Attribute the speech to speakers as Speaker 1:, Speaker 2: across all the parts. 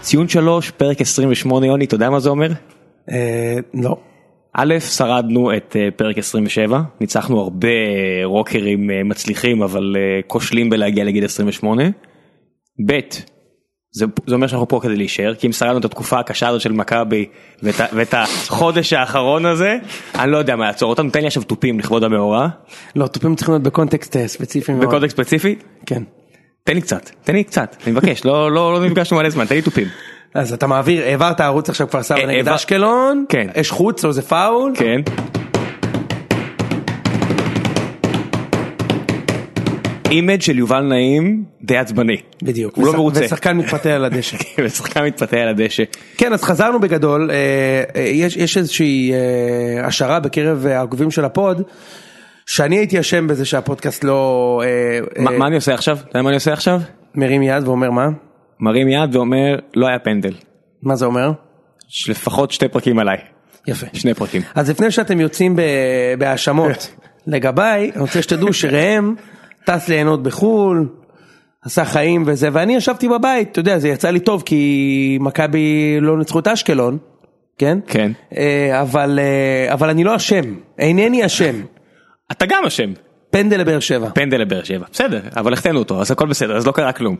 Speaker 1: ציון 3, פרק 28, יוני, אתה יודע מה זה אומר?
Speaker 2: אה, לא.
Speaker 1: א', שרדנו את אה, פרק 27, ניצחנו הרבה רוקרים אה, מצליחים אבל אה, כושלים בלהגיע לגיל 28. ב', זה, זה אומר שאנחנו פה כדי להישאר, כי אם שרדנו את התקופה הקשה הזאת של מכבי ואת, ה- ואת החודש האחרון הזה, אני לא יודע מה יעצור אותנו, תן לי עכשיו תופים לכבוד המאורע,
Speaker 2: לא, תופים צריכים להיות בקונטקסט אה, ספציפי מאוד.
Speaker 1: בקודקס ספציפי,
Speaker 2: כן.
Speaker 1: תן לי קצת, תן לי קצת, אני מבקש, לא, לא, לא נפגשנו מלא זמן, תן לי תופים.
Speaker 2: אז אתה מעביר, העברת ערוץ עכשיו כפר סבא
Speaker 1: אה,
Speaker 2: נגד
Speaker 1: העבר-
Speaker 2: אשקלון,
Speaker 1: כן.
Speaker 2: יש חוץ או זה פאול,
Speaker 1: כן. אימג' של יובל נעים די עצבני.
Speaker 2: בדיוק,
Speaker 1: הוא לא
Speaker 2: וש-
Speaker 1: מרוצה. כן.
Speaker 2: ושחקן מתפתה על הדשא.
Speaker 1: ושחקן מתפתה על הדשא.
Speaker 2: כן, אז חזרנו בגדול, אה, אה, יש, יש איזושהי אה, השערה בקרב אה, העוקבים של הפוד, שאני הייתי אשם בזה שהפודקאסט לא אה,
Speaker 1: מה
Speaker 2: אה,
Speaker 1: מה אני עושה עכשיו? אתה יודע מה אני עושה עכשיו?
Speaker 2: מרים יד ואומר מה?
Speaker 1: מרים יד ואומר לא היה פנדל.
Speaker 2: מה זה אומר?
Speaker 1: יש לפחות שתי פרקים עליי.
Speaker 2: יפה.
Speaker 1: שני פרקים.
Speaker 2: אז לפני שאתם יוצאים ב- בהאשמות לגביי, אני רוצה שתדעו שראם טס ליהנות בחו"ל, עשה חיים וזה, ואני ישבתי בבית, אתה יודע, זה יצא לי טוב כי מכבי לא ניצחו את אשקלון, כן?
Speaker 1: כן.
Speaker 2: אה, אבל, אה, אבל אני לא אשם, אינני אשם.
Speaker 1: אתה גם אשם.
Speaker 2: פנדל לבאר שבע.
Speaker 1: פנדל לבאר שבע. בסדר, אבל החטאנו אותו, אז הכל בסדר, אז לא קרה כלום.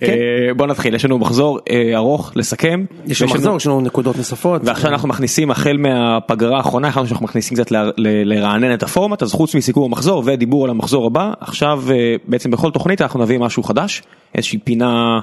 Speaker 2: כן.
Speaker 1: אה, בוא נתחיל, יש לנו מחזור אה, ארוך לסכם.
Speaker 2: יש לנו מחזור, יש לנו נקודות נוספות.
Speaker 1: ועכשיו אנחנו מכניסים החל מהפגרה האחרונה החלטנו שאנחנו מכניסים קצת ל- ל- לרענן את הפורמט אז חוץ מסיכום המחזור ודיבור על המחזור הבא עכשיו אה, בעצם בכל תוכנית אנחנו נביא משהו חדש איזושהי פינה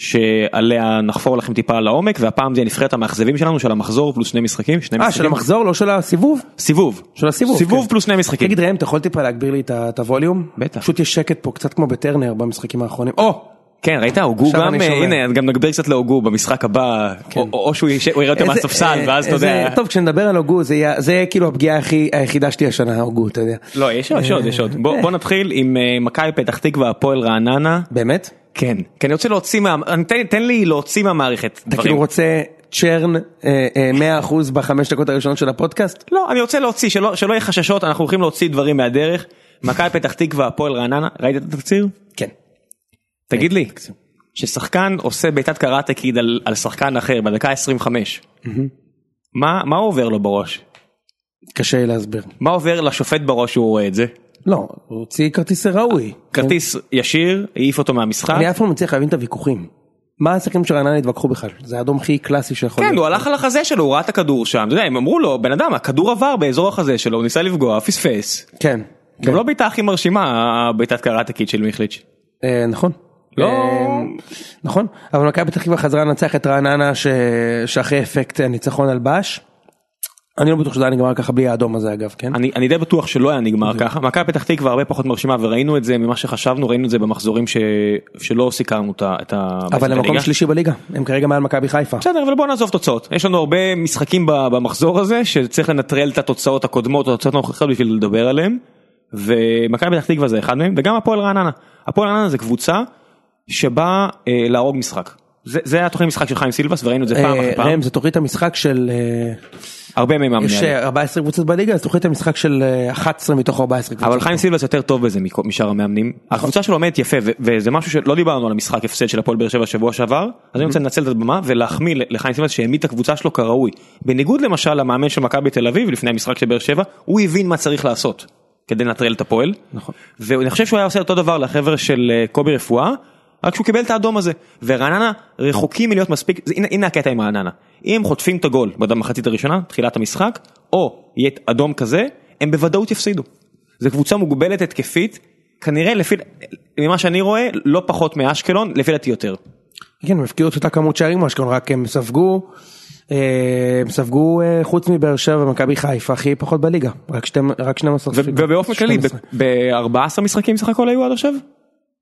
Speaker 1: שעליה נחפור לכם טיפה לעומק והפעם זה נבחרת המאכזבים שלנו של המחזור פלוס שני משחקים שני
Speaker 2: אה,
Speaker 1: משחקים
Speaker 2: של המחזור, לא של הסיבוב?
Speaker 1: סיבוב
Speaker 2: של הסיבוב,
Speaker 1: סיבוב
Speaker 2: כן.
Speaker 1: פלוס שני משחקים
Speaker 2: תגיד ראם, אתה יכול טיפה להגביר לי את ה- את הווליום?
Speaker 1: בטח.
Speaker 2: פשוט יש שקט פה, קצת כמו בטרנר במשחקים האחרונים. או!
Speaker 1: כן ראית הוגו
Speaker 2: עכשיו
Speaker 1: גם
Speaker 2: אני
Speaker 1: אה,
Speaker 2: שומע. כן.
Speaker 1: הנה גם נגביר קצת להוגו במשחק הבא או- או או שהוא יישב- הוא יראה אותם
Speaker 2: איזה-
Speaker 1: מהספסל
Speaker 2: אה,
Speaker 1: ואז אתה
Speaker 2: איזה-
Speaker 1: יודע
Speaker 2: טוב כשנדבר על הוגו זה יהיה- זה יהיה כאילו הפגיעה הכי היחידה שלי השנה הוגו אתה יודע.
Speaker 1: לא יש עוד יש עוד יש עוד בוא בוא נתחיל עם אה, מכבי פתח תקווה הפועל רעננה
Speaker 2: באמת?
Speaker 1: כן, כי אני רוצה להוציא מה... אני- תן, תן לי להוציא מהמערכת
Speaker 2: אתה
Speaker 1: דברים.
Speaker 2: כאילו רוצה צ'רן אה, אה, 100% בחמש דקות הראשונות של הפודקאסט?
Speaker 1: לא, אני רוצה להוציא, שלא, שלא יהיה חששות, אנחנו הולכים להוציא דברים מהדרך. מכבי פתח תקווה, הפועל רעננה, ראית את התקציר?
Speaker 2: כן.
Speaker 1: תגיד לי, ששחקן עושה בעיטת קראטה קיד על, על שחקן אחר בדקה 25, מה, מה עובר לו בראש?
Speaker 2: קשה לי להסביר.
Speaker 1: מה עובר לשופט בראש שהוא רואה את זה?
Speaker 2: לא, הוא הוציא כרטיס ראוי.
Speaker 1: כרטיס ישיר, העיף אותו מהמשחק.
Speaker 2: אני אף פעם לא מצליח להבין את הוויכוחים. מה השחקנים של רעננה התווכחו בכלל? זה האדום הכי קלאסי שיכול
Speaker 1: כן, הוא הלך על החזה שלו, הוא ראה את הכדור שם, אתה יודע, הם אמרו לו, בן אדם, הכדור עבר באזור החזה שלו, הוא ניסה לפגוע, פספס.
Speaker 2: כן. כן.
Speaker 1: גם לא בעיטה הכי מרשימה, הבעיטת קראטה קיד של מיכליץ'.
Speaker 2: אה, נכון.
Speaker 1: לא-
Speaker 2: אה, נכון. אבל מכבי פתח תקווה חזרה לנצח את רעננה ש... שאחרי אפקט הניצחון על בש. אני לא בטוח שזה היה נגמר ככה בלי האדום הזה אגב, כן?
Speaker 1: אני, לא אני די בטוח שלא היה נגמר ככה. מכבי פתח תקווה הרבה פחות מרשימה וראינו את זה ממה שחשבנו, ראינו את זה במחזורים ש... שלא סיכרנו את ה... את ה- בעצם את
Speaker 2: אבל הם מקום
Speaker 1: הליגה.
Speaker 2: שלישי בליגה, הם כרגע מעל מכבי חיפה.
Speaker 1: בסדר, אבל בוא נעזוב תוצאות. יש לנו הרבה משחקים ב- במחזור הזה שצריך לנטרל את התוצאות הקודמות, או התוצאות הנוכחיות בשביל לדבר עליהם. ומכבי פתח תקווה זה אחד מהם, וגם הפועל רעננה. הפועל רעננה זה קבוצה שבאה אה, להרוג משחק. זה, זה התוכנית משחק של חיים סילבס וראינו את זה פעם אחרי
Speaker 2: אה,
Speaker 1: פעם.
Speaker 2: ראם, זה תוכנית המשחק של, אה,
Speaker 1: הרבה מהם
Speaker 2: יש
Speaker 1: מהמנהלים.
Speaker 2: אה, 14 קבוצות בליגה, אז תוכנית המשחק של אה, 11 מתוך 14 קבוצות.
Speaker 1: אבל חיים סילבס יותר טוב בזה מכ- משאר המאמנים. הקבוצה שלו עומדת יפה ו- וזה משהו שלא דיברנו על המשחק הפסד של הפועל באר שבע שבוע שעבר אז אני רוצה לנצל את הבמה ולהחמיא ל- לחיים סילבס שהעמיד את הקבוצה שלו כראוי. בניגוד למשל למאמן של מכבי תל אביב לפני המשחק של באר שבע הוא הבין מה צריך לעשות כדי לנטרל את הפועל.
Speaker 2: נכון.
Speaker 1: ואני חושב שהוא היה עושה אותו דבר לחבר'ה של אה, קובי רפואה, רק שהוא קיבל את האדום הזה. ורעננה רחוקים מלהיות מספיק, זה- הנה, הנה הקטע עם רעננה. אם חוטפים את הגול במחצית הראשונה, תחילת המשחק, או יהיה אדום כזה, הם בוודאות יפסידו. זו קבוצה מוגבלת התקפית, כנראה לפי, ממה שאני רואה, לא פחות מאשקלון, לפי דעתי יותר.
Speaker 2: כן, הם הפקיעו את אותה כמות שערים כמו אשקלון, רק הם ספגו, אה, הם ספגו אה, חוץ מבאר שבע ומכבי חיפה הכי פחות בליגה, רק שתים- רק 12.
Speaker 1: ו- ובאופן כללי,
Speaker 2: 12.
Speaker 1: ב-14 משחקים סך הכל היו עד עכשיו?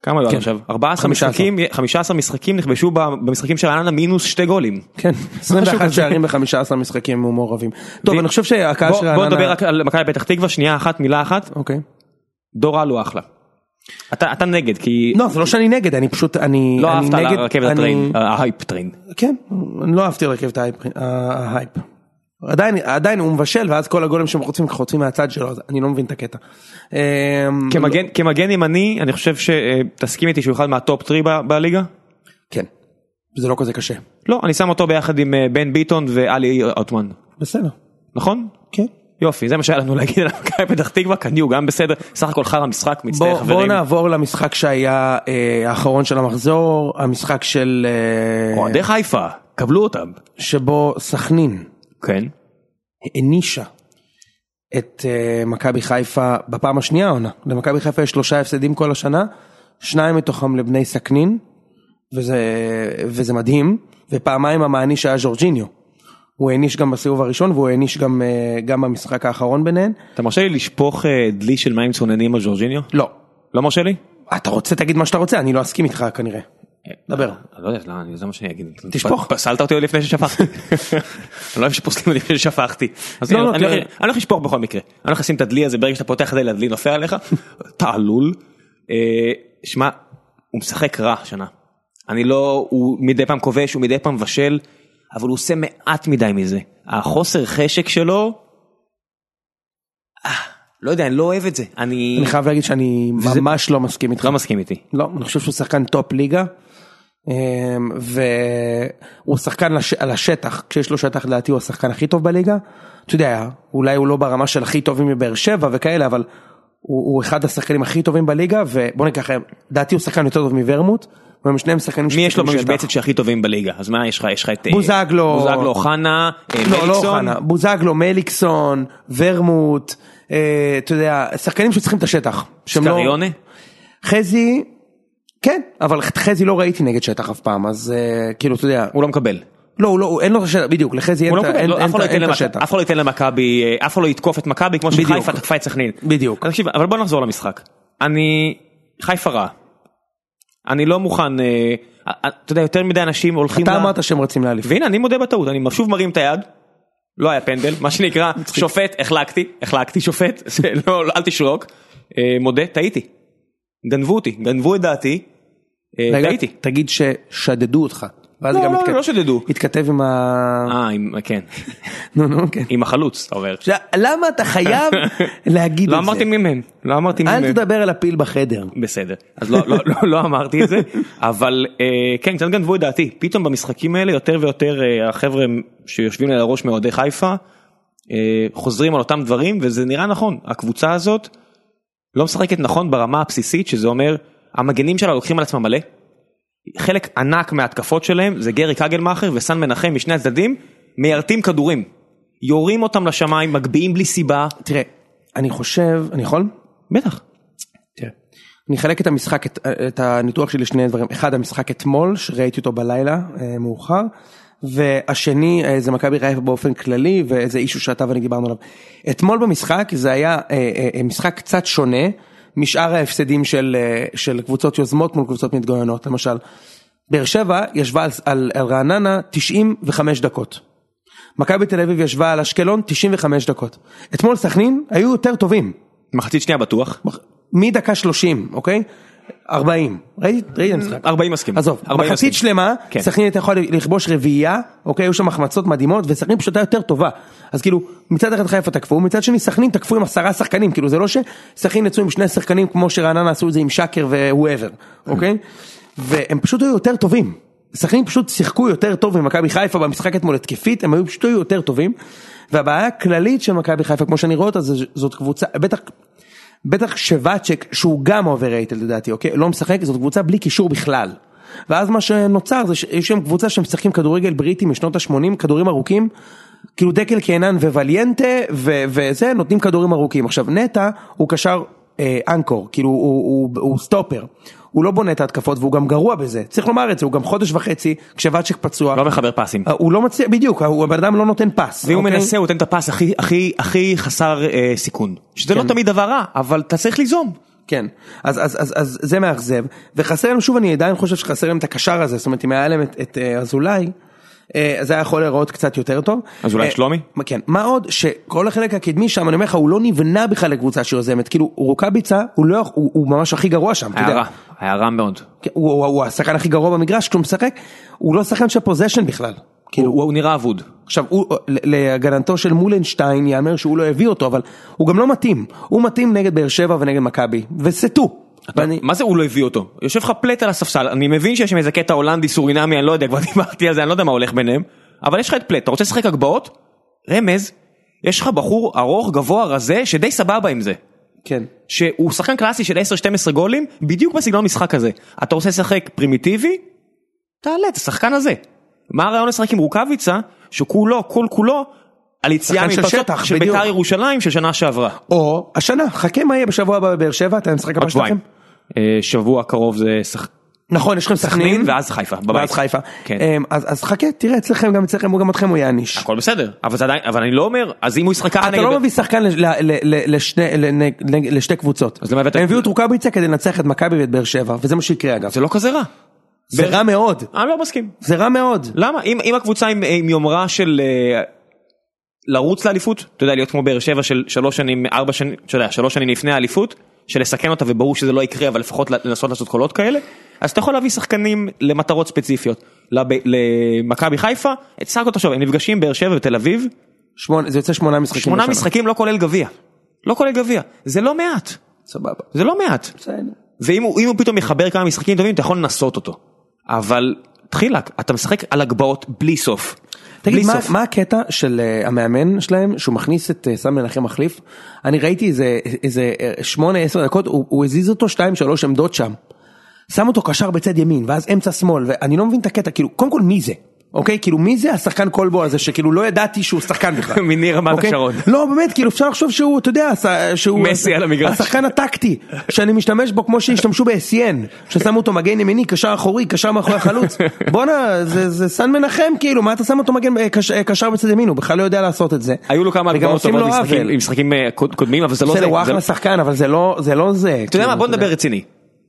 Speaker 1: כמה היו עד
Speaker 2: כן.
Speaker 1: עכשיו? 14
Speaker 2: 15.
Speaker 1: משחקים, 15 משחקים נכבשו ב- במשחקים של רעננה מינוס שתי גולים.
Speaker 2: כן, 21
Speaker 1: כזה.
Speaker 2: שערים ב-15 משחקים מעורבים. טוב,
Speaker 1: ו-
Speaker 2: אני חושב שהקהל של
Speaker 1: בוא,
Speaker 2: רעננה...
Speaker 1: בוא נדבר רק על מכבי פתח תקווה שנייה אחת מילה אחת
Speaker 2: אוקיי.
Speaker 1: דור אלו אחלה. אתה אתה נגד כי
Speaker 2: לא, זה לא שאני נגד, אני פשוט, אני...
Speaker 1: לא
Speaker 2: אני
Speaker 1: אהבת
Speaker 2: נגד-
Speaker 1: על הרכבת
Speaker 2: אני-
Speaker 1: הטריין ההייפ טריין.
Speaker 2: כן, אני לא אהבתי לרכבת ההייפ- ההייפ. עדיין, עדיין הוא מבשל ואז כל הגולים שהם חוטפים חוטפים מהצד שלו, אז אני לא מבין את הקטע. אה,
Speaker 1: לא. כמגן אה, כמגן ימני אני חושב שתסכים איתי שהוא אחד מהטופ טרי ב- בליגה.
Speaker 2: כן. זה לא כזה קשה.
Speaker 1: לא, אני שם אותו ביחד עם אה, בן ביטון ועלי עותמן,
Speaker 2: בסדר.
Speaker 1: נכון?
Speaker 2: כן.
Speaker 1: יופי, זה מה שהיה לנו להגיד על מכבי פתח תקווה, כאן יהיו גם בסדר, סך הכל חרא משחק, מצטער
Speaker 2: בוא, בוא
Speaker 1: חברים.
Speaker 2: נעבור למשחק שהיה אה, האחרון של המחזור, המשחק של... אה,
Speaker 1: אוהדי חיפה, קבלו אותם.
Speaker 2: שבו סכנין
Speaker 1: כן.
Speaker 2: הענישה את אה, מכבי חיפה בפעם השנייה העונה. למכבי חיפה יש שלושה הפסדים כל השנה, שניים מתוכם לבני סכנין, וזה, וזה מדהים, ופעמיים המעניש היה ז'ורג'יניו. הוא העניש גם בסיבוב הראשון והוא העניש גם, אה, גם במשחק האחרון ביניהם.
Speaker 1: אתה מרשה לי לשפוך אה, דלי של מים צוננים על ז'ורג'יניו?
Speaker 2: לא.
Speaker 1: לא מרשה לי?
Speaker 2: אתה רוצה תגיד מה שאתה רוצה, אני לא אסכים איתך כנראה. דבר.
Speaker 1: אני לא יודע, לא, אני- זה מה שאני אגיד.
Speaker 2: תשפוך.
Speaker 1: פ- פסלת אותי עוד לפני ששפכתי. אני לא אוהב שפוסלים אותי לפני ששפכתי. אז
Speaker 2: לא,
Speaker 1: אני-
Speaker 2: לא,
Speaker 1: אני
Speaker 2: תראה.
Speaker 1: אני הולך לשפוך בכל מקרה. אני הולך לשים את הדלי הזה, ברגע שאתה פותח את הדלי, הדלי נופל עליך, תעלול. אה, שמע, הוא משחק רע השנה. אני לא, הוא מדי פעם כובש, הוא מדי פעם מבשל, אבל הוא עושה מעט מדי מזה. החוסר חשק שלו, אה, לא יודע, אני לא אוהב את זה. אני
Speaker 2: אני חייב להגיד שאני ממש לא מסכים איתך.
Speaker 1: לא מסכים איתי.
Speaker 2: לא, אני חושב שהוא שחקן טופ ליגה. אמ, והוא שחקן לש... על השטח, כשיש לו שטח לדעתי הוא השחקן הכי טוב בליגה. אתה יודע, אולי הוא לא ברמה של הכי טובים מבאר שבע וכאלה, אבל הוא, הוא אחד השחקנים הכי טובים בליגה, ובוא ניקח, לדעתי הוא שחקן יותר טוב מוורמוט, והם שניהם שחקנים
Speaker 1: מי יש לו
Speaker 2: שטחים
Speaker 1: במשבצת שהכי טובים בליגה? אז מה יש לך? יש לך את... אה,
Speaker 2: בוזגלו.
Speaker 1: בוזגלו, אוחנה, אה,
Speaker 2: לא, לא
Speaker 1: מליקסון.
Speaker 2: אוחנה, בוזגלו, מליקסון, ורמוט, אה, אתה יודע, שחקנים שצריכים את השטח. שהם לא-
Speaker 1: סקריונה?
Speaker 2: חזי, כן, אבל חזי לא ראיתי נגד שטח אף פעם, אז אה, כאילו, אתה יודע,
Speaker 1: הוא לא מקבל.
Speaker 2: לא, הוא לא, הוא- אין לו את השטח, בדיוק, לחזי אין
Speaker 1: הוא לא
Speaker 2: את ה-
Speaker 1: מקבל.
Speaker 2: אין-
Speaker 1: לא,
Speaker 2: אין
Speaker 1: אף אחד
Speaker 2: את
Speaker 1: לא
Speaker 2: ה-
Speaker 1: ייתן
Speaker 2: אין את
Speaker 1: למכ-
Speaker 2: השטח.
Speaker 1: אף אחד לא ייתן למכבי, אה, אף אחד לא יתקוף את מכבי כמו
Speaker 2: בדיוק.
Speaker 1: שחיפה תקפה את סכנין.
Speaker 2: בדיוק.
Speaker 1: אז תקשיב, אבל בוא נחזור למשחק. אני... חיפה רע. אני לא מוכן... אה, אה, אתה יודע, יותר מדי אנשים הולכים...
Speaker 2: אתה
Speaker 1: ל-
Speaker 2: אמרת שהם רצים להעליף.
Speaker 1: והנה, אני מודה בטעות, אני שוב מרים את היד. לא היה פנדל, מה שנקרא, שופט, החלקתי, החלקתי שופט, זה לא, לא, אל תשרוק. אה, מודה, טעיתי. גנבו אותי, גנבו את דעתי. אה,
Speaker 2: רגע,
Speaker 1: טעיתי.
Speaker 2: תגיד ששדדו אותך. ואז
Speaker 1: לא,
Speaker 2: גם
Speaker 1: לא,
Speaker 2: התכת-
Speaker 1: לא שדדו.
Speaker 2: התכתב עם ה...
Speaker 1: אה, עם- כן.
Speaker 2: נו, נו, כן.
Speaker 1: עם החלוץ, אתה אומר.
Speaker 2: עכשיו, למה אתה חייב להגיד
Speaker 1: לא
Speaker 2: את זה?
Speaker 1: אמרתי מי מהם, לא אמרתי מי
Speaker 2: אל
Speaker 1: מהם.
Speaker 2: תדבר על הפיל בחדר.
Speaker 1: בסדר, אז לא, לא, לא, לא אמרתי את זה, אבל אה, כן, קצת גנבו את דעתי. פתאום במשחקים האלה יותר ויותר אה, החבר'ה שיושבים לי על הראש מאוהדי חיפה, אה, חוזרים על אותם דברים, וזה נראה נכון. הקבוצה הזאת לא משחקת נכון ברמה הבסיסית, שזה אומר, המגנים שלה לוקחים על עצמם מלא. חלק ענק מההתקפות שלהם זה גרי קגלמאכר וסן מנחם משני הצדדים, מיירטים כדורים. יורים אותם לשמיים, מגביהים בלי סיבה.
Speaker 2: תראה, אני חושב, אני יכול?
Speaker 1: בטח.
Speaker 2: תראה, אני אחלק את המשחק, את, את הניתוח שלי לשני דברים, אחד המשחק אתמול שראיתי אותו בלילה אה, מאוחר, והשני אה, זה מכבי חיפה באופן כללי וזה אישו שאתה ואני דיברנו עליו. אתמול במשחק זה היה אה, אה, אה, משחק קצת שונה משאר ההפסדים של, אה, של קבוצות יוזמות מול קבוצות מתגוננות, למשל. באר שבע ישבה על, על, על רעננה 95 דקות. מכבי תל אביב ישבה על אשקלון 95 דקות. אתמול סכנין היו יותר טובים.
Speaker 1: מחצית שנייה בטוח.
Speaker 2: מדקה 30, אוקיי? 40. ראיתי ראיתי את המשחק.
Speaker 1: 40 מסכים.
Speaker 2: עזוב,
Speaker 1: 40 מסכים.
Speaker 2: מחצית שלמה,
Speaker 1: כן.
Speaker 2: סכנין הייתה יכולה לכבוש רביעייה, אוקיי, היו שם החמצות מדהימות, וסכנין פשוט הייתה יותר טובה. אז כאילו, מצד אחד חיפה תקפו, מצד שני סכנין תקפו עם עשרה שחקנים, כאילו זה לא שסכנין יצאו עם שני שחקנים כמו שרעננה עשו את זה עם שקר והואבר, אוקיי? והם פשוט היו יותר טובים. סכנין פשוט שיחקו יותר טוב ממכבי חיפה במשחק אתמול התקפית, הם היו פשוט היו יותר טובים. והבעיה הכללית של מכבי חיפה, כמו שאני רואה אותה, זה- זאת קבוצה, בטח בטח שוואצ'ק שהוא גם אובררייטד לדעתי אוקיי לא משחק זאת קבוצה בלי קישור בכלל. ואז מה שנוצר זה שיש שם קבוצה שמשחקים כדורגל בריטי משנות ה-80 כדורים ארוכים. כאילו דקל קהנן ווליאנטה ו- וזה נותנים כדורים ארוכים עכשיו נטע הוא קשר אה, אנקור כאילו הוא, הוא, הוא, הוא סטופר. הוא לא בונה את ההתקפות והוא גם גרוע בזה צריך לומר את זה הוא גם חודש וחצי כשוואצ'ק פצוע.
Speaker 1: לא מחבר פסים.
Speaker 2: אה, הוא לא מצליח בדיוק הוא- הבן אדם לא נותן פס.
Speaker 1: ואם הוא
Speaker 2: אוקיי?
Speaker 1: מנסה הוא נותן את הפס הכי הכי הכי חסר אה, סיכון. שזה לא תמיד דבר רע, אבל אתה צריך ליזום.
Speaker 2: כן, אז, אז, אז, אז זה מאכזב, וחסר להם, שוב אני עדיין חושב שחסר להם את הקשר הזה, זאת אומרת אם היה להם את, את אה, אזולאי, אה, זה היה יכול להיראות קצת יותר טוב.
Speaker 1: אזולאי
Speaker 2: אה,
Speaker 1: שלומי?
Speaker 2: מה- כן, מה עוד שכל החלק הקדמי שם, אני אומר לך, הוא לא נבנה בכלל לקבוצה שיוזמת, כאילו רוקאביצה, הוא לא, הוא, הוא ממש הכי גרוע שם, אתה
Speaker 1: היה
Speaker 2: יודע.
Speaker 1: רע, היה רע מאוד.
Speaker 2: כן, הוא, הוא, הוא השחקן הכי גרוע במגרש, כשהוא משחק, הוא לא שחקן של פוזיישן בכלל.
Speaker 1: הוא
Speaker 2: כאילו,
Speaker 1: הוא נראה אבוד.
Speaker 2: עכשיו, הוא, ל- להגנתו של מולנשטיין ייאמר שהוא לא הביא אותו, אבל הוא גם לא מתאים. הוא מתאים נגד באר שבע ונגד מכבי, וסטו. ואני-
Speaker 1: מה זה הוא לא הביא אותו? יושב לך פלט על הספסל, אני מבין שיש שם איזה קטע הולנדי סורינמי, אני לא יודע, כבר דיברתי על זה, אני לא יודע מה הולך ביניהם, אבל יש לך את פלט, אתה רוצה לשחק הגבהות? רמז, יש לך בחור ארוך, גבוה, רזה, שדי סבבה עם זה.
Speaker 2: כן.
Speaker 1: שהוא שחקן קלאסי של 10-12 גולים, בדיוק בסגנון משחק הזה. אתה רוצה לשחק פרימיטיבי? תעלה את השחקן הזה. מה הרעיון לשחק עם רוקאביצה, שכולו, כל כולו, על יציאה
Speaker 2: שחקן של
Speaker 1: מפרצות
Speaker 2: שטח,
Speaker 1: של
Speaker 2: בדיוק.
Speaker 1: בית"ר ירושלים של שנה שעברה.
Speaker 2: או השנה, חכה מה יהיה בשבוע הבא בבאר שבע, אתה המשחק הבא
Speaker 1: עוד שבועיים.
Speaker 2: שלכם.
Speaker 1: אה, שבוע קרוב זה שח...
Speaker 2: נכון, יש לכם סכנין.
Speaker 1: ואז חיפה, בבית.
Speaker 2: ואז חיפה.
Speaker 1: כן.
Speaker 2: אמ, אז אז חכה, תראה, אצלכם גם אצלכם, הוא גם אתכם הוא יעניש.
Speaker 1: הכל בסדר, אבל זה עדיין, אבל אני לא אומר, אז אם הוא ישחק ככה
Speaker 2: אתה
Speaker 1: נגד...
Speaker 2: לא מביא שחקן ל- ל- ל- לשני- לנג- לנג- לשתי קבוצות.
Speaker 1: אז למה הבאת-
Speaker 2: הם הביאו את רוקאביצה כדי לנצח את מכבי ואת באר שבע, וזה מה שיקרה אגב.
Speaker 1: זה לא כזה רע.
Speaker 2: זה רע מאוד,
Speaker 1: אני לא מסכים.
Speaker 2: זה רע מאוד.
Speaker 1: למה? אם, אם הקבוצה עם, עם יומרה של אה, לרוץ לאליפות, אתה יודע, להיות כמו באר שבע של שלוש שנים, ארבע שנים, אתה יודע, שלוש שנים לפני האליפות, של לסכן אותה וברור שזה לא יקרה, אבל לפחות לנסות לעשות קולות כאלה, אז אתה יכול להביא שחקנים למטרות ספציפיות. לב, למכבי חיפה, את סך הכל תחשוב, הם נפגשים באר שבע ותל אביב,
Speaker 2: שמונה- זה יוצא שמונה משחקים.
Speaker 1: שמונה
Speaker 2: בשנה.
Speaker 1: משחקים לא כולל גביע. לא כולל גביע. זה לא מעט.
Speaker 2: סבבה.
Speaker 1: זה לא מעט.
Speaker 2: בסדר.
Speaker 1: ואם הוא, אם הוא פתאום יחבר כמה משחקים טובים אתה יכול לנסות אותו. אבל תחילק אתה משחק על הגבהות בלי סוף.
Speaker 2: תגיד,
Speaker 1: בלי
Speaker 2: מה,
Speaker 1: סוף.
Speaker 2: מה הקטע של uh, המאמן שלהם, שהוא מכניס את uh, סם מנחם מחליף? אני ראיתי איזה, איזה 8-10 דקות, הוא, הוא הזיז אותו 2-3 עמדות שם. שם אותו קשר בצד ימין, ואז אמצע שמאל, ואני לא מבין את הקטע, כאילו, קודם כל מי זה? אוקיי? כאילו, מי זה השחקן כלבו הזה, שכאילו לא ידעתי שהוא שחקן בכלל.
Speaker 1: מניר רמת
Speaker 2: אוקיי?
Speaker 1: השרון.
Speaker 2: לא, באמת, כאילו, אפשר לחשוב שהוא, אתה יודע, ש- שהוא...
Speaker 1: מסי על המגרש.
Speaker 2: השחקן הטקטי, שאני משתמש בו כמו שהשתמשו ב-SCN, ששמו אותו מגן ימיני, קשר אחורי, קשר מאחורי החלוץ. בואנה, זה, זה סן מנחם, כאילו, מה אתה שם אותו מגן אה, קש, אה, קשר בצד ימין, הוא בכלל לא יודע לעשות את זה.
Speaker 1: היו לו כמה
Speaker 2: וגם
Speaker 1: הגבהות
Speaker 2: עושים
Speaker 1: טובות
Speaker 2: לו
Speaker 1: משחקים-
Speaker 2: עוול.
Speaker 1: עם משחקים אה, קוד- קודמים אבל זה לא זה.
Speaker 2: בסדר, הוא
Speaker 1: זה-
Speaker 2: אחלה שחקן, אבל זה לא זה. לא זה
Speaker 1: אתה יודע מה
Speaker 2: כאילו,
Speaker 1: בוא נדבר רציני.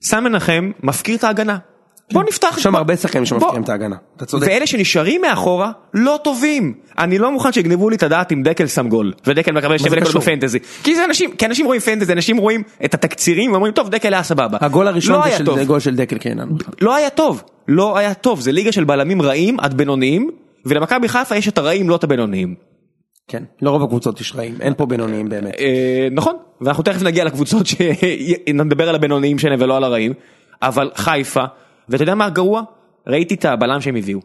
Speaker 1: סם מנחם מפקיר את ההגנה. בוא נפתח.
Speaker 2: יש שם
Speaker 1: בוא-
Speaker 2: הרבה שחקנים
Speaker 1: בוא.
Speaker 2: שמפקירים את ההגנה. כן. אתה צודק.
Speaker 1: ואלה שנשארים מאחורה לא טובים. אני לא מוכן שיגנבו לי את הדעת אם דקל שם גול ודקל מקבל שתי
Speaker 2: זה
Speaker 1: דקל
Speaker 2: קשור?
Speaker 1: בפנטזי. כי זה אנשים, כי אנשים רואים פנטזי, אנשים רואים את התקצירים ואומרים טוב דקל היה סבבה.
Speaker 2: הגול
Speaker 1: לא
Speaker 2: הראשון זה
Speaker 1: היה
Speaker 2: של-
Speaker 1: טוב.
Speaker 2: זה גול של דקל קיינן.
Speaker 1: לא היה טוב, לא היה טוב, זה ליגה של בלמים רעים עד בינוניים, ולמכבי חיפה יש את הרעים לא את הבינוניים.
Speaker 2: כן, לרוב הקבוצות יש רעים, אין פה בינוניים באמת.
Speaker 1: אה, נכון, ואנחנו תכף נגיע לקבוצות שנדבר על הבינוניים שלהם ולא על הרעים, אבל חיפה, ואתה יודע מה הגרוע? ראיתי את הבלם שהם הביאו,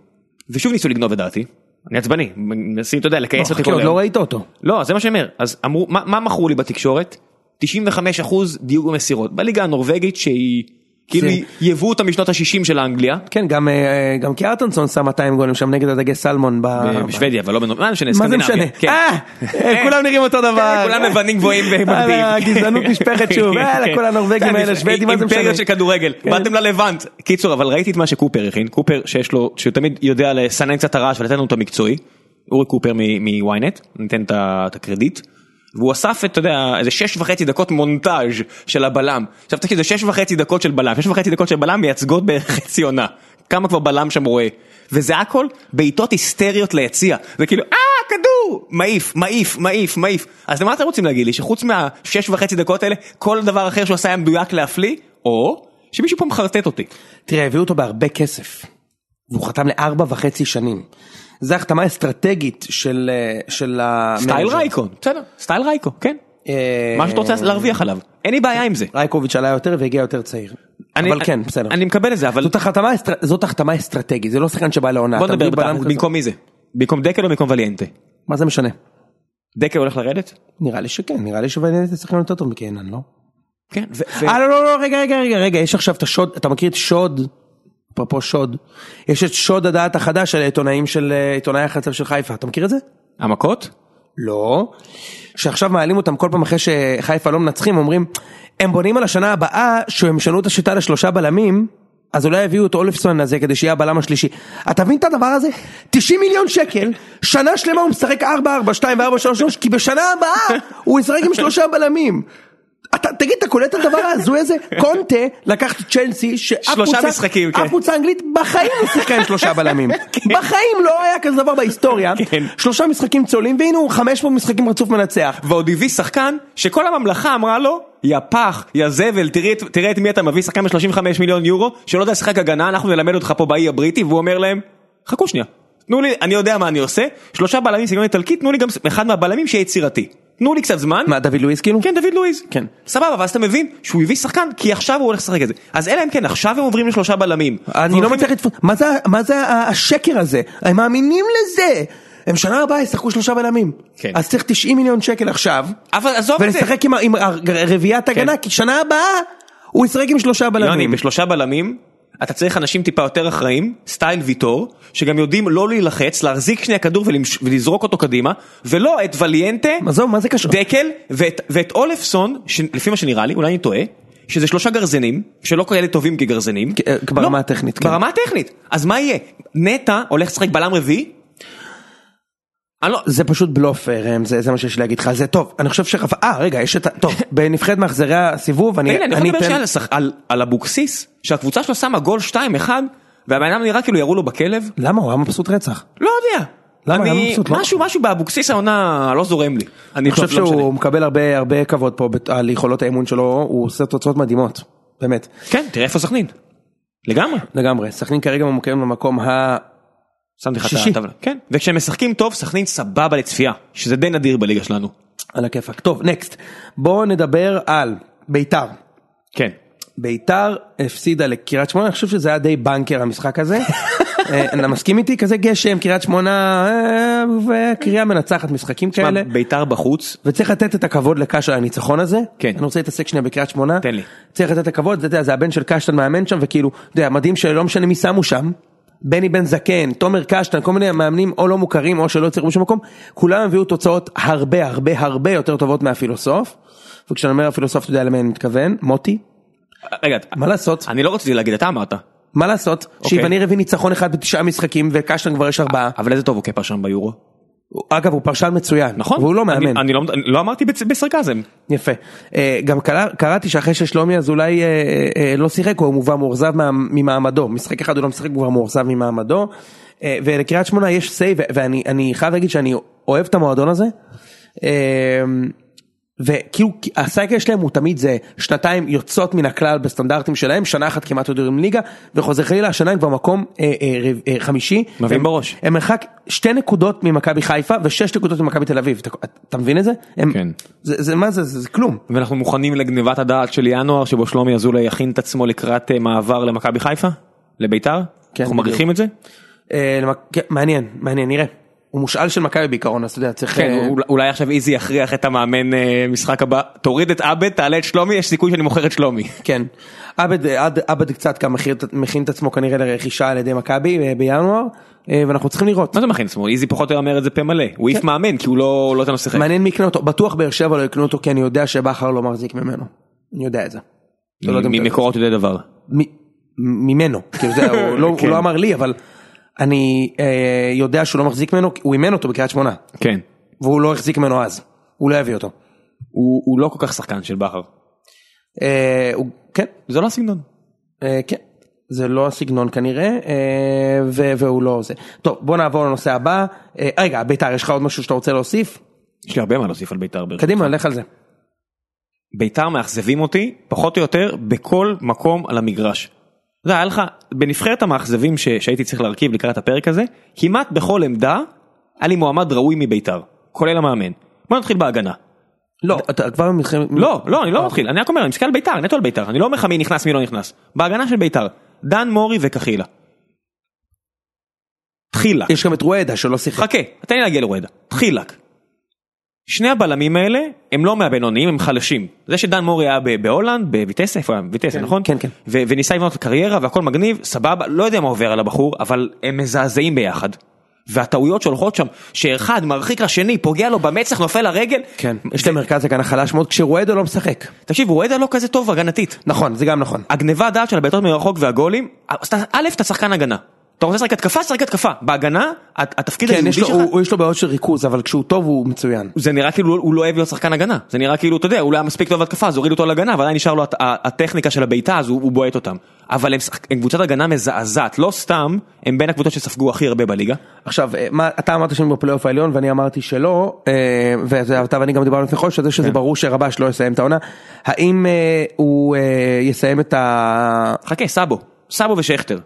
Speaker 1: ושוב ניסו לגנוב את דעתי, אני עצבני, מנסים, אתה יודע,
Speaker 2: לא,
Speaker 1: לכייס אותי
Speaker 2: חכה,
Speaker 1: כל
Speaker 2: עוד
Speaker 1: היום.
Speaker 2: לא ראית אותו.
Speaker 1: לא, זה מה שאני אומר, אז אמרו, מה, מה מכרו לי בתקשורת? 95% דיוק במסירות, בליגה הנורבגית שהיא, כאילו,
Speaker 2: זה-
Speaker 1: יבאו אותה משנות ה-60 של האנגליה.
Speaker 2: כן, גם, אה, גם קיארטנסון שם 200 גולים שם נגד הדגי סלמון. ב...
Speaker 1: בשוודיה, אבל לא בנורבגיה, מה משנה,
Speaker 2: אה, מה זה משנה?
Speaker 1: סקנדינביה. כן.
Speaker 2: אה, אה, כולם נראים אותו דבר.
Speaker 1: כן, כולם לבנים גבוהים ומגביהים.
Speaker 2: אה, הגזענות נשפכת שוב. יאללה, כל הנורבגים האלה, שוודים, מה זה משנה? כן.
Speaker 1: אימפריות של כדורגל, באתם ללבנט. קיצור, אבל ראיתי את מה שקופר הכין, קופר שיש לו, שהוא תמיד יודע לסנן קצת את הרעש ולתת לנו את המקצועי, אורי קופר מ- מ-ynet, ניתן את ה- את הקרדיט. והוא אסף את, אתה יודע, איזה שש וחצי דקות מונטאז' של הבלם. עכשיו תקשיב, זה שש וחצי דקות של בלם, שש וחצי דקות של בלם מייצגות בערך חצי עונה. כמה כבר בלם שם רואה. וזה הכל בעיטות היסטריות ליציע. זה כאילו, אה, כדור! מעיף, מעיף, מעיף, מעיף. אז למה אתם רוצים להגיד לי? שחוץ מהשש וחצי דקות האלה, כל דבר אחר שהוא עשה היה מדויק להפליא, או שמישהו פה מחרטט אותי.
Speaker 2: תראה, הביאו אותו בהרבה כסף. והוא חתם לארבע וחצי שנים. זו החתמה אסטרטגית של אה, של המנג'ר.
Speaker 1: סטייל רייקו, בסדר, סטייל רייקו, כן.
Speaker 2: אה,
Speaker 1: מה שאתה רוצה להרוויח עליו, אין לי בעיה עם זה.
Speaker 2: רייקוביץ' עלה יותר והגיע יותר צעיר.
Speaker 1: אני-
Speaker 2: אבל כן, בסדר.
Speaker 1: אני מקבל את זה, אבל
Speaker 2: זאת החתמה אסטר- זאת החתמה אסטרטגית, זה לא שחקן שבא לעונה.
Speaker 1: בוא
Speaker 2: אתה
Speaker 1: נדבר
Speaker 2: מביא בלם
Speaker 1: בתכלס,
Speaker 2: כזה.
Speaker 1: במקום מי זה? במקום דקל או במקום וליאנטה?
Speaker 2: מה זה משנה?
Speaker 1: דקל הולך לרדת?
Speaker 2: נראה לי שכן, נראה לי שוונדס שחקן יותר טוב מקיינן, לא?
Speaker 1: כן. ו- ו-
Speaker 2: אה לא לא לא רגע רגע רגע רגע יש עכשיו את השוד אתה מכיר את שוד. אפרופו שוד. יש את שוד הדעת החדש של העיתונאים של אה, עיתונאי החצר של חיפה אתה מכיר את זה?
Speaker 1: המכות?
Speaker 2: לא. שעכשיו מעלים אותם כל פעם אחרי שחיפה לא מנצחים אומרים הם בונים על השנה הבאה שהם ישנו את השיטה לשלושה בלמים. אז אולי יביאו את אולפסון הזה כדי שיהיה הבלם השלישי. אתה מבין את הדבר הזה? 90 מיליון שקל, שנה שלמה הוא משחק 4, 4, 2 ו-4, 3, 3, כי בשנה הבאה הוא ישחק עם שלושה בלמים. אתה, תגיד, אתה קולט את הדבר ההזוי הזה? קונטה לקח את צ'לסי, שאף
Speaker 1: שלושה
Speaker 2: קבוצה-
Speaker 1: משחקים,
Speaker 2: אף
Speaker 1: כן.
Speaker 2: קבוצה אנגלית בחיים לא שיחקה עם שלושה בלמים. בחיים לא היה כזה דבר בהיסטוריה.
Speaker 1: כן.
Speaker 2: שלושה משחקים צולעים, והנה הוא 500 משחקים רצוף מנצח.
Speaker 1: ועוד הביא שחקן שכל הממלכה אמרה לו יא פח יא זבל תראה, את- תראה את מי אתה מביא שחקן ב-35 מיליון יורו שלא יודע לשחק הגנה אנחנו נלמד אותך פה באי הבריטי והוא אומר להם חכו שנייה תנו לי אני יודע מה אני עושה שלושה בלמים סגנון איטלקי תנו לי גם ס- אחד מהבלמים שיהיה יצירתי תנו לי קצת זמן.
Speaker 2: מה, דוד לואיס כאילו?
Speaker 1: כן, דוד לואיז.
Speaker 2: כן.
Speaker 1: סבבה, ואז אתה מבין שהוא הביא שחקן, כי עכשיו הוא הולך לשחק את זה. אז אלא אם כן, עכשיו הם עוברים לשלושה בלמים.
Speaker 2: אני לא מצליח לתפוס, מה זה- מה זה ה- השקר הזה? הם מאמינים לזה! הם שנה הבאה ישחקו שלושה בלמים.
Speaker 1: כן. לא
Speaker 2: אז צריך 90 מיליון שקל עכשיו,
Speaker 1: אבל עזוב את זה.
Speaker 2: ולשחק עם ה- עם ה- רביעיית
Speaker 1: כן.
Speaker 2: הגנה, כי שנה הבאה הוא ישחק עם שלושה
Speaker 1: יוני,
Speaker 2: בלמים.
Speaker 1: לא, בשלושה בלמים, אתה צריך אנשים טיפה יותר אחראים, סטייל ויטור, שגם יודעים לא להילחץ, להחזיק שנייה כדור ולמש- ולזרוק אותו קדימה, ולא את וליאנטה,
Speaker 2: עזוב, מה זה קשור?
Speaker 1: דקל ואת, ואת אולפסון, שלפי מה שנראה לי, אולי אני טועה, שזה שלושה גרזנים, שלא כאלה טובים כגרזנים. לא,
Speaker 2: אה, ברמה הטכנית, כן.
Speaker 1: ברמה הטכנית. אז מה יהיה? נטע הולך לשחק בלם רביעי? אני לא...
Speaker 2: זה פשוט בלוף ראם, זה, זה מה שיש לי להגיד לך על זה. טוב, אני חושב שרפ... אה, רגע, יש את ה... טוב, בנבחרת מאכזרי הסיבוב, אני,
Speaker 1: הנה, אני יכול
Speaker 2: אני
Speaker 1: לדבר שנייה על השח- על- על אבוקסיס, שהקבוצה שלו שמה גול 2-1, והבן אדם נראה כאילו ירו לו בכלב.
Speaker 2: למה? הוא היה מבסוט רצח.
Speaker 1: לא יודע.
Speaker 2: למה?
Speaker 1: אני-
Speaker 2: למה מבסוט? לא-
Speaker 1: משהו, משהו באבוקסיס העונה לא זורם לי.
Speaker 2: אני חושב
Speaker 1: לא משנה.
Speaker 2: שהוא מקבל הרבה הרבה כבוד פה בת- על יכולות האמון שלו, הוא עושה תוצאות מדהימות, באמת.
Speaker 1: כן, תראה איפה סכנין. לגמרי.
Speaker 2: לגמרי, סכנין כרגע ממוקם במקום ה...
Speaker 1: שמתי לך את
Speaker 2: שישי.
Speaker 1: הטבלה. כן. וכשהם משחקים טוב, סכנין סבבה לצפייה, שזה די נדיר בליגה שלנו.
Speaker 2: על הכיפאק. טוב, נקסט. בואו נדבר על ביתר.
Speaker 1: כן.
Speaker 2: ביתר הפסידה לקריית שמונה, אני חושב שזה היה די בנקר המשחק הזה. אה, אתה מסכים איתי? כזה גשם, קריית שמונה, אה, וקריאה מנצחת משחקים כאלה.
Speaker 1: מה, ביתר בחוץ,
Speaker 2: וצריך לתת את הכבוד לקאש על הניצחון הזה.
Speaker 1: כן.
Speaker 2: אני רוצה להתעסק שנייה בקריית שמונה.
Speaker 1: תן לי.
Speaker 2: צריך לתת את הכבוד, אתה יודע, זה הבן של קשטן מאמן שם, וכאילו, אתה יודע, מדהים שלא משנה מי שמו שם. בני בן זקן, תומר קשטן, כל מיני מאמנים או לא מוכרים או שלא יצרו בשום מקום, כולם הביאו תוצאות הרבה הרבה הרבה יותר טובות מהפילוסוף. וכשאני אומר הפילוסוף, אתה יודע למה אני מתכוון, מוטי,
Speaker 1: רגע,
Speaker 2: מה לעשות?
Speaker 1: אני לא רציתי להגיד, אתה אמרת,
Speaker 2: מה לעשות?
Speaker 1: אוקיי.
Speaker 2: שיווניר הביא ניצחון אחד בתשעה משחקים וקשטן כבר יש ארבעה.
Speaker 1: אבל איזה טוב הוא כפרשן ביורו,
Speaker 2: הוא- אגב, הוא פרשן מצוין.
Speaker 1: אה. נכון?
Speaker 2: והוא לא
Speaker 1: אני-
Speaker 2: מאמן.
Speaker 1: אני לא- אני לא אמרתי בצ- בסרקזם.
Speaker 2: יפה. אה, גם קרא- קראתי שאחרי ששלומי אזולאי אה, אה, אה, לא שיחק, הוא כבר מאוכזב מה- ממעמדו. משחק אחד הוא לא משחק, הוא כבר מאוכזב ממעמדו. אה, ולקריית שמונה יש סייב, ואני אני חייב להגיד שאני אוהב את המועדון הזה. אה, וכאילו הסייקל שלהם הוא תמיד זה שנתיים יוצאות מן הכלל בסטנדרטים שלהם, שנה אחת כמעט עוד יורדים ליגה, וחוזר חלילה השנה הם כבר מקום אה, אה, רב- אה, חמישי.
Speaker 1: מביאים
Speaker 2: הם-
Speaker 1: בראש.
Speaker 2: הם מרחק שתי נקודות ממכבי חיפה ושש נקודות ממכבי תל אביב, אתה, אתה מבין את זה? הם,
Speaker 1: כן.
Speaker 2: זה, זה מה זה, זה, זה כלום.
Speaker 1: ואנחנו מוכנים לגניבת הדעת של ינואר, שבו שלומי אזולאי יכין את עצמו לקראת אה, מעבר למכבי חיפה, לביתר,
Speaker 2: כן,
Speaker 1: אנחנו
Speaker 2: בדיוק.
Speaker 1: מריחים את זה,
Speaker 2: אה, למק... כן, מעניין, מעניין, נראה. הוא מושאל של מכבי בעיקרון, אז אתה יודע, צריך...
Speaker 1: כן,
Speaker 2: אה,
Speaker 1: אולי- אולי עכשיו איזי יכריח את המאמן אה, משחק הבא, תוריד את עבד, תעלה את שלומי, יש סיכוי שאני מוכר את שלומי.
Speaker 2: כן. עבד, עד, עבד קצת גם מכין, את- מכין את עצמו כנראה לרכישה על ידי מכבי אה, בינואר, אה, ואנחנו צריכים לראות.
Speaker 1: מה זה מכין עצמו? איזי פחות או יותר אומר את זה פה מלא, הוא העיף מאמן כי הוא לא לא נותן לו לשחק.
Speaker 2: מעניין מי יקנה אותו, בטוח באר שבע לא יקנו אותו, כי אני יודע שבכר לא מחזיק ממנו. אני יודע את זה. אתה לא יודע אם אתה יודע.
Speaker 1: ממקורות יודע דבר.
Speaker 2: מ- ממנו, כאילו זה, הוא, לא,
Speaker 1: כן.
Speaker 2: הוא לא אמר לי, אבל אני אה, יודע שהוא לא מחזיק ממנו, כי הוא אימן אותו בקריית שמונה,
Speaker 1: כן.
Speaker 2: והוא לא החזיק ממנו אז, הוא לא הביא אותו.
Speaker 1: הוא הוא לא כל כך שחקן של בכר.
Speaker 2: אה, הוא, כן,
Speaker 1: זה לא הסגנון.
Speaker 2: אה, כן, זה לא הסגנון כנראה, אה, ו, והוא לא זה. טוב, בוא נעבור לנושא הבא. אה, רגע, ביתר, יש לך עוד משהו שאתה רוצה להוסיף?
Speaker 1: יש לי הרבה מה להוסיף על ביתר. ברשותך.
Speaker 2: קדימה, לך על זה.
Speaker 1: ביתר מאכזבים אותי פחות או יותר בכל מקום על המגרש. אתה יודע, היה לך בנבחרת המאכזבים ש... שהייתי צריך להרכיב לקראת הפרק הזה כמעט בכל עמדה היה לי מועמד ראוי מביתר כולל המאמן. בוא נתחיל בהגנה.
Speaker 2: לא, אתה כבר מתחיל...
Speaker 1: לא לא אני לא מתחיל אני רק אומר אני מסתכל על ביתר נטו על ביתר אני לא אומר לך מי נכנס מי לא נכנס בהגנה של ביתר דן מורי וקחילה. תחילה.
Speaker 2: יש גם את רואדה שלא שיחק.
Speaker 1: חכה, תן לי להגיע לרואדה. תחילק. שני הבלמים האלה הם לא מהבינוניים, הם חלשים. זה שדן מורי היה ב- בהולנד, בויטסה, איפה היה? בויטסה, נכון?
Speaker 2: כן, כן.
Speaker 1: ו- וניסה לבנות קריירה והכל מגניב, סבבה, לא יודע מה עובר על הבחור, אבל הם מזעזעים ביחד. והטעויות שהולכות שם, שאחד מרחיק לשני, פוגע לו במצח, נופל לרגל.
Speaker 2: כן, יש להם מרכז הגנה חלש מאוד כשרואדה לא משחק.
Speaker 1: תקשיב, רואדה לא כזה טוב הגנתית.
Speaker 2: נכון, זה גם
Speaker 1: אה,
Speaker 2: נכון.
Speaker 1: הגניבה דעת של הבעיטות מרחוק והגולים, אז אתה- א', אתה שחקן הגנה. אתה רוצה לשחק התקפה, שחק התקפה. בהגנה, הת- התפקיד
Speaker 2: כן, יש
Speaker 1: היהודי שלך...
Speaker 2: לו- הוא- הוא- יש לו בעיות של ריכוז, אבל כשהוא טוב הוא מצוין.
Speaker 1: זה נראה כאילו הוא לא אוהב להיות שחקן הגנה זה נראה כאילו אתה יודע הוא לא היה מספיק טוב בהתקפה אז הורידו אותו להגנה ועדיין נשאר לו הת- ה- הטכניקה של הבעיטה אז הוא הוא בועט אותם אבל הם, שחק- הם קבוצת הגנה מזעזעת לא סתם הם בין הקבוצות שספגו הכי הרבה בליגה
Speaker 2: עכשיו, אה, מה, אתה אמרת שהם בפלייאוף העליון ואני אמרתי שלא, אה, ואתה ואתה ואני גם דיברנו לפני חודש, על זה שזה ברור שרבש לא יסיים את העונה. האם אה, הוא אה, יסיים את ה...
Speaker 1: חכה סאבו סאבו ושכטר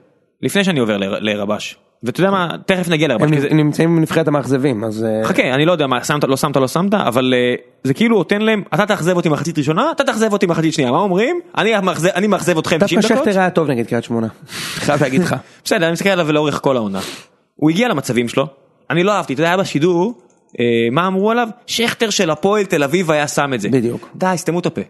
Speaker 1: לפני שאני עובר לר- לרבש ואתה יודע מה, תכף נגיע לארבע.
Speaker 2: הם
Speaker 1: כי זה-
Speaker 2: נמצאים בנבחרת המאכזבים, אז... אה,
Speaker 1: חכה, אני לא יודע מה שמת, לא שמת, לא שמת, אבל אה, זה כאילו נותן להם, אתה תאכזב אותי מחצית ראשונה, אתה תאכזב אותי מחצית שנייה, מה אומרים? אני מאכזב- אני מאכזב אתכם 90
Speaker 2: דווקא
Speaker 1: דקות.
Speaker 2: שכטר היה טוב נגד קריית שמונה. חייב להגיד לך.
Speaker 1: בסדר, אני מסתכל עליו לאורך כל העונה. הוא הגיע למצבים שלו, אני לא אהבתי, אתה יודע, היה בשידור, אה, מה אמרו עליו? שכטר של הפועל תל אביב היה שם את זה.
Speaker 2: בדיוק.
Speaker 1: די, סתמו את הפה.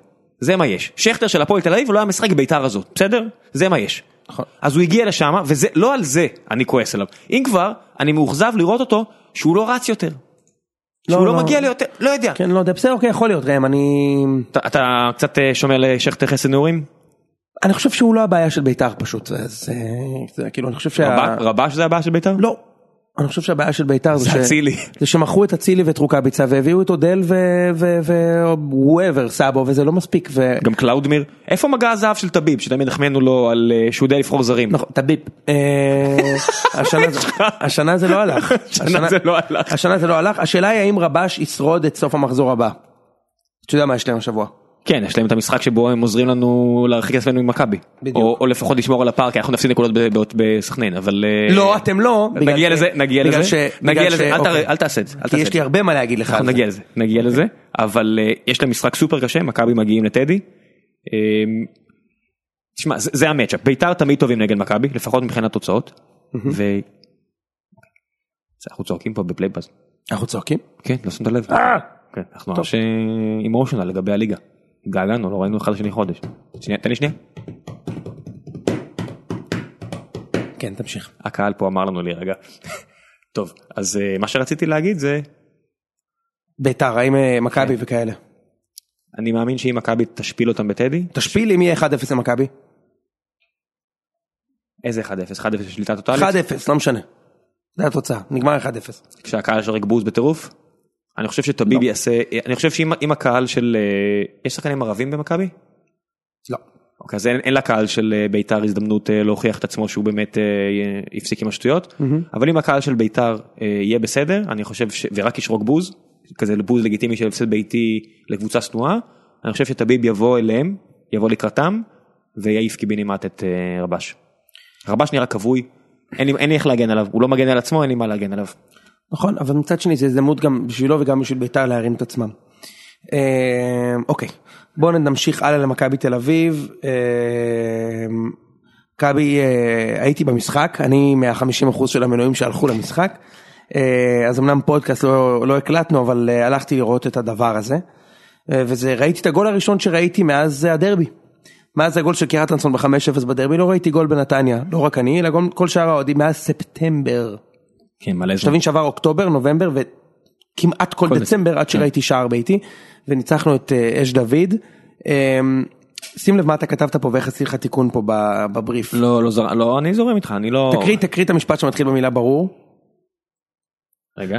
Speaker 1: זה מה יש. שכטר של הפועל תל אביב לא היה משחק בית"ר הזאת, בסדר? זה מה יש.
Speaker 2: נכון.
Speaker 1: אז הוא הגיע לשם, וזה, לא על זה אני כועס עליו. אם כבר, אני מאוכזב לראות אותו שהוא לא רץ יותר. שהוא
Speaker 2: לא,
Speaker 1: לא,
Speaker 2: לא.
Speaker 1: מגיע ליותר, לא יודע.
Speaker 2: כן, לא יודע, בסדר, אוקיי, יכול להיות, ראם, אני...
Speaker 1: אתה, אתה קצת אה, שומע לשכטר חסד נעורים?
Speaker 2: אני חושב שהוא לא הבעיה של בית"ר פשוט, אז אה, זה כאילו, אני חושב שה...
Speaker 1: רבש- רבש זה הבעיה של בית"ר?
Speaker 2: לא. אני חושב שהבעיה של בית"ר זה
Speaker 1: זה
Speaker 2: ש...
Speaker 1: אצילי.
Speaker 2: זה שמכרו את אצילי ואת רוקאביצה והביאו את אודל ווואבר סאבו וזה לא מספיק. ו...
Speaker 1: גם קלאודמיר? איפה מגע הזהב של טביב, שתמיד החמאנו לו על אה, שהוא יודע לבחור זרים?
Speaker 2: נכון, תביב. אה, השנה זה- השנה זה לא הלך.
Speaker 1: השנה זה לא הלך.
Speaker 2: השנה זה לא הלך, השאלה היא האם רבש ישרוד את סוף המחזור הבא. אתה יודע מה יש להם השבוע.
Speaker 1: כן, יש להם את המשחק שבו הם עוזרים לנו להרחיק את עצמנו ממכבי.
Speaker 2: בדיוק.
Speaker 1: או או לפחות לשמור על הפער, כי אנחנו נפסיד נקודות ב- ב- בסכנין, אבל... אה,
Speaker 2: לא, אתם לא. בגלל
Speaker 1: נגיע
Speaker 2: ש-
Speaker 1: לזה, נגיע
Speaker 2: בגלל
Speaker 1: לזה,
Speaker 2: ש-
Speaker 1: נגיע
Speaker 2: בגלל ש-
Speaker 1: לזה, אל
Speaker 2: אוקיי.
Speaker 1: תער- אל תעשה את זה, אל
Speaker 2: כי
Speaker 1: תעשה את
Speaker 2: יש לי אוקיי.
Speaker 1: זה.
Speaker 2: הרבה מה להגיד לך. על
Speaker 1: אנחנו
Speaker 2: זה.
Speaker 1: נגיע לזה, נגיע לזה, אבל אה, יש להם משחק סופר קשה, מכבי מגיעים לטדי. אה, תשמע, זה- זה המצ'אפ, ביתר תמיד טובים נגד מכבי, לפחות מבחינת תוצאות. ו... אנחנו צועקים פה בפלייבאז.
Speaker 2: אנחנו צועקים?
Speaker 1: כן, לא שמת לב. כן, אנחנו ממש אימושיונל לגבי הליגה. התגעגענו, לא ראינו אחד לשני חודש. שנייה, תן לי שנייה.
Speaker 2: כן, תמשיך.
Speaker 1: הקהל פה אמר לנו להירגע. טוב, אז אה, מה שרציתי להגיד זה,
Speaker 2: ביתר, האם אה,
Speaker 1: כן.
Speaker 2: מכבי וכאלה.
Speaker 1: אני מאמין שאם מכבי תשפיל אותם בטדי,
Speaker 2: תשפיל אם יהיה 1-0 למכבי.
Speaker 1: איזה 1-0? 1-0 שליטה
Speaker 2: 1-0,
Speaker 1: טוטאלית?
Speaker 2: לא משנה. זה התוצאה, נגמר 1-0.
Speaker 1: כשהקהל שרק בוז בטירוף? אני חושב שטביב יעשה, אני חושב שאם אם הקהל של, אה, יש שחקנים ערבים במכבי?
Speaker 2: לא.
Speaker 1: אוקיי, אז אין, אין לקהל של אה, בית"ר הזדמנות אה, להוכיח את עצמו שהוא באמת אה, אה, הפסיק עם השטויות, אבל אם הקהל של בית"ר אה, יהיה בסדר, אני חושב, ש... ורק ישרוק בוז, כזה בוז לגיטימי של הפסד ביתי לקבוצה שנואה, אני חושב שטביב יבוא אליהם, יבוא לקראתם, ויעיף קיבינימט את אה, רבש. רבש נראה כבוי, אין לי, אין לי איך להגן עליו, הוא לא מגן על עצמו, אין לי מה להגן עליו.
Speaker 2: נכון, אבל מצד שני זה הזדמנות גם בשבילו וגם בשביל ביתר להרים את עצמם. אה, אוקיי, בואו נמשיך הלאה למכבי תל אביב. אה, מכבי, אה, הייתי במשחק, אני מה-50% של המנויים שהלכו למשחק. אה, אז אמנם פודקאסט לא, לא הקלטנו, אבל אה, הלכתי לראות את הדבר הזה. אה, וזה, ראיתי את הגול הראשון שראיתי מאז אה, הדרבי. מאז הגול של קרטנסון ב-5-0 בדרבי, לא ראיתי גול בנתניה, לא רק אני, אלא גם כל שאר האוהדים מאז ספטמבר.
Speaker 1: כן, מלא זמן.
Speaker 2: שתבין שעבר אוקטובר, נובמבר וכמעט כל
Speaker 1: כל כן.
Speaker 2: דצמבר עד שראיתי שער ביתי וניצחנו את אה, אש דוד. אה, שים לב מה אתה כתבת פה ואיך עשיתי לך תיקון פה ב- בבריף.
Speaker 1: לא, לא, זר... לא, אני זורם איתך, אני לא...
Speaker 2: תקריא, תקריא את המשפט שמתחיל במילה ברור.
Speaker 1: רגע.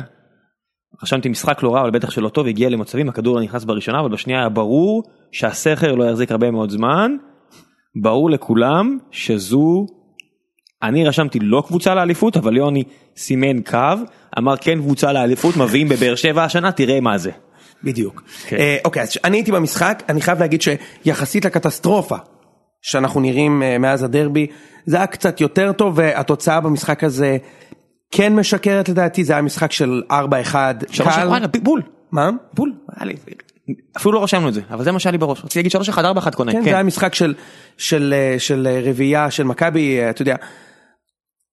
Speaker 1: רשמתי משחק לא רע אבל בטח שלא טוב הגיע למצבים הכדור לא נכנס בראשונה אבל בשנייה היה ברור שהסכר לא יחזיק הרבה מאוד זמן. ברור לכולם שזו אני רשמתי לא קבוצה לאליפות אבל יוני סימן קו אמר כן קבוצה לאליפות מביאים בבאר שבע השנה תראה מה זה.
Speaker 2: בדיוק.
Speaker 1: כן.
Speaker 2: אה, אוקיי, אז אני הייתי במשחק, אני חייב להגיד שיחסית לקטסטרופה שאנחנו נראים אה, מאז הדרבי, זה היה קצת יותר טוב והתוצאה במשחק הזה כן משקרת לדעתי, זה היה משחק של 4-1
Speaker 1: שלוש
Speaker 2: קל.
Speaker 1: אחד, וואלה, ב- בול
Speaker 2: מה?
Speaker 1: בול היה לי- אפילו לא רשמנו את זה אבל זה מה שהיה לי בראש רציתי להגיד 3 1 4 1 קונה
Speaker 2: כן, זה היה
Speaker 1: כן.
Speaker 2: משחק של, של, אה, של אה, רביעייה של מכבי, אה, אתה יודע.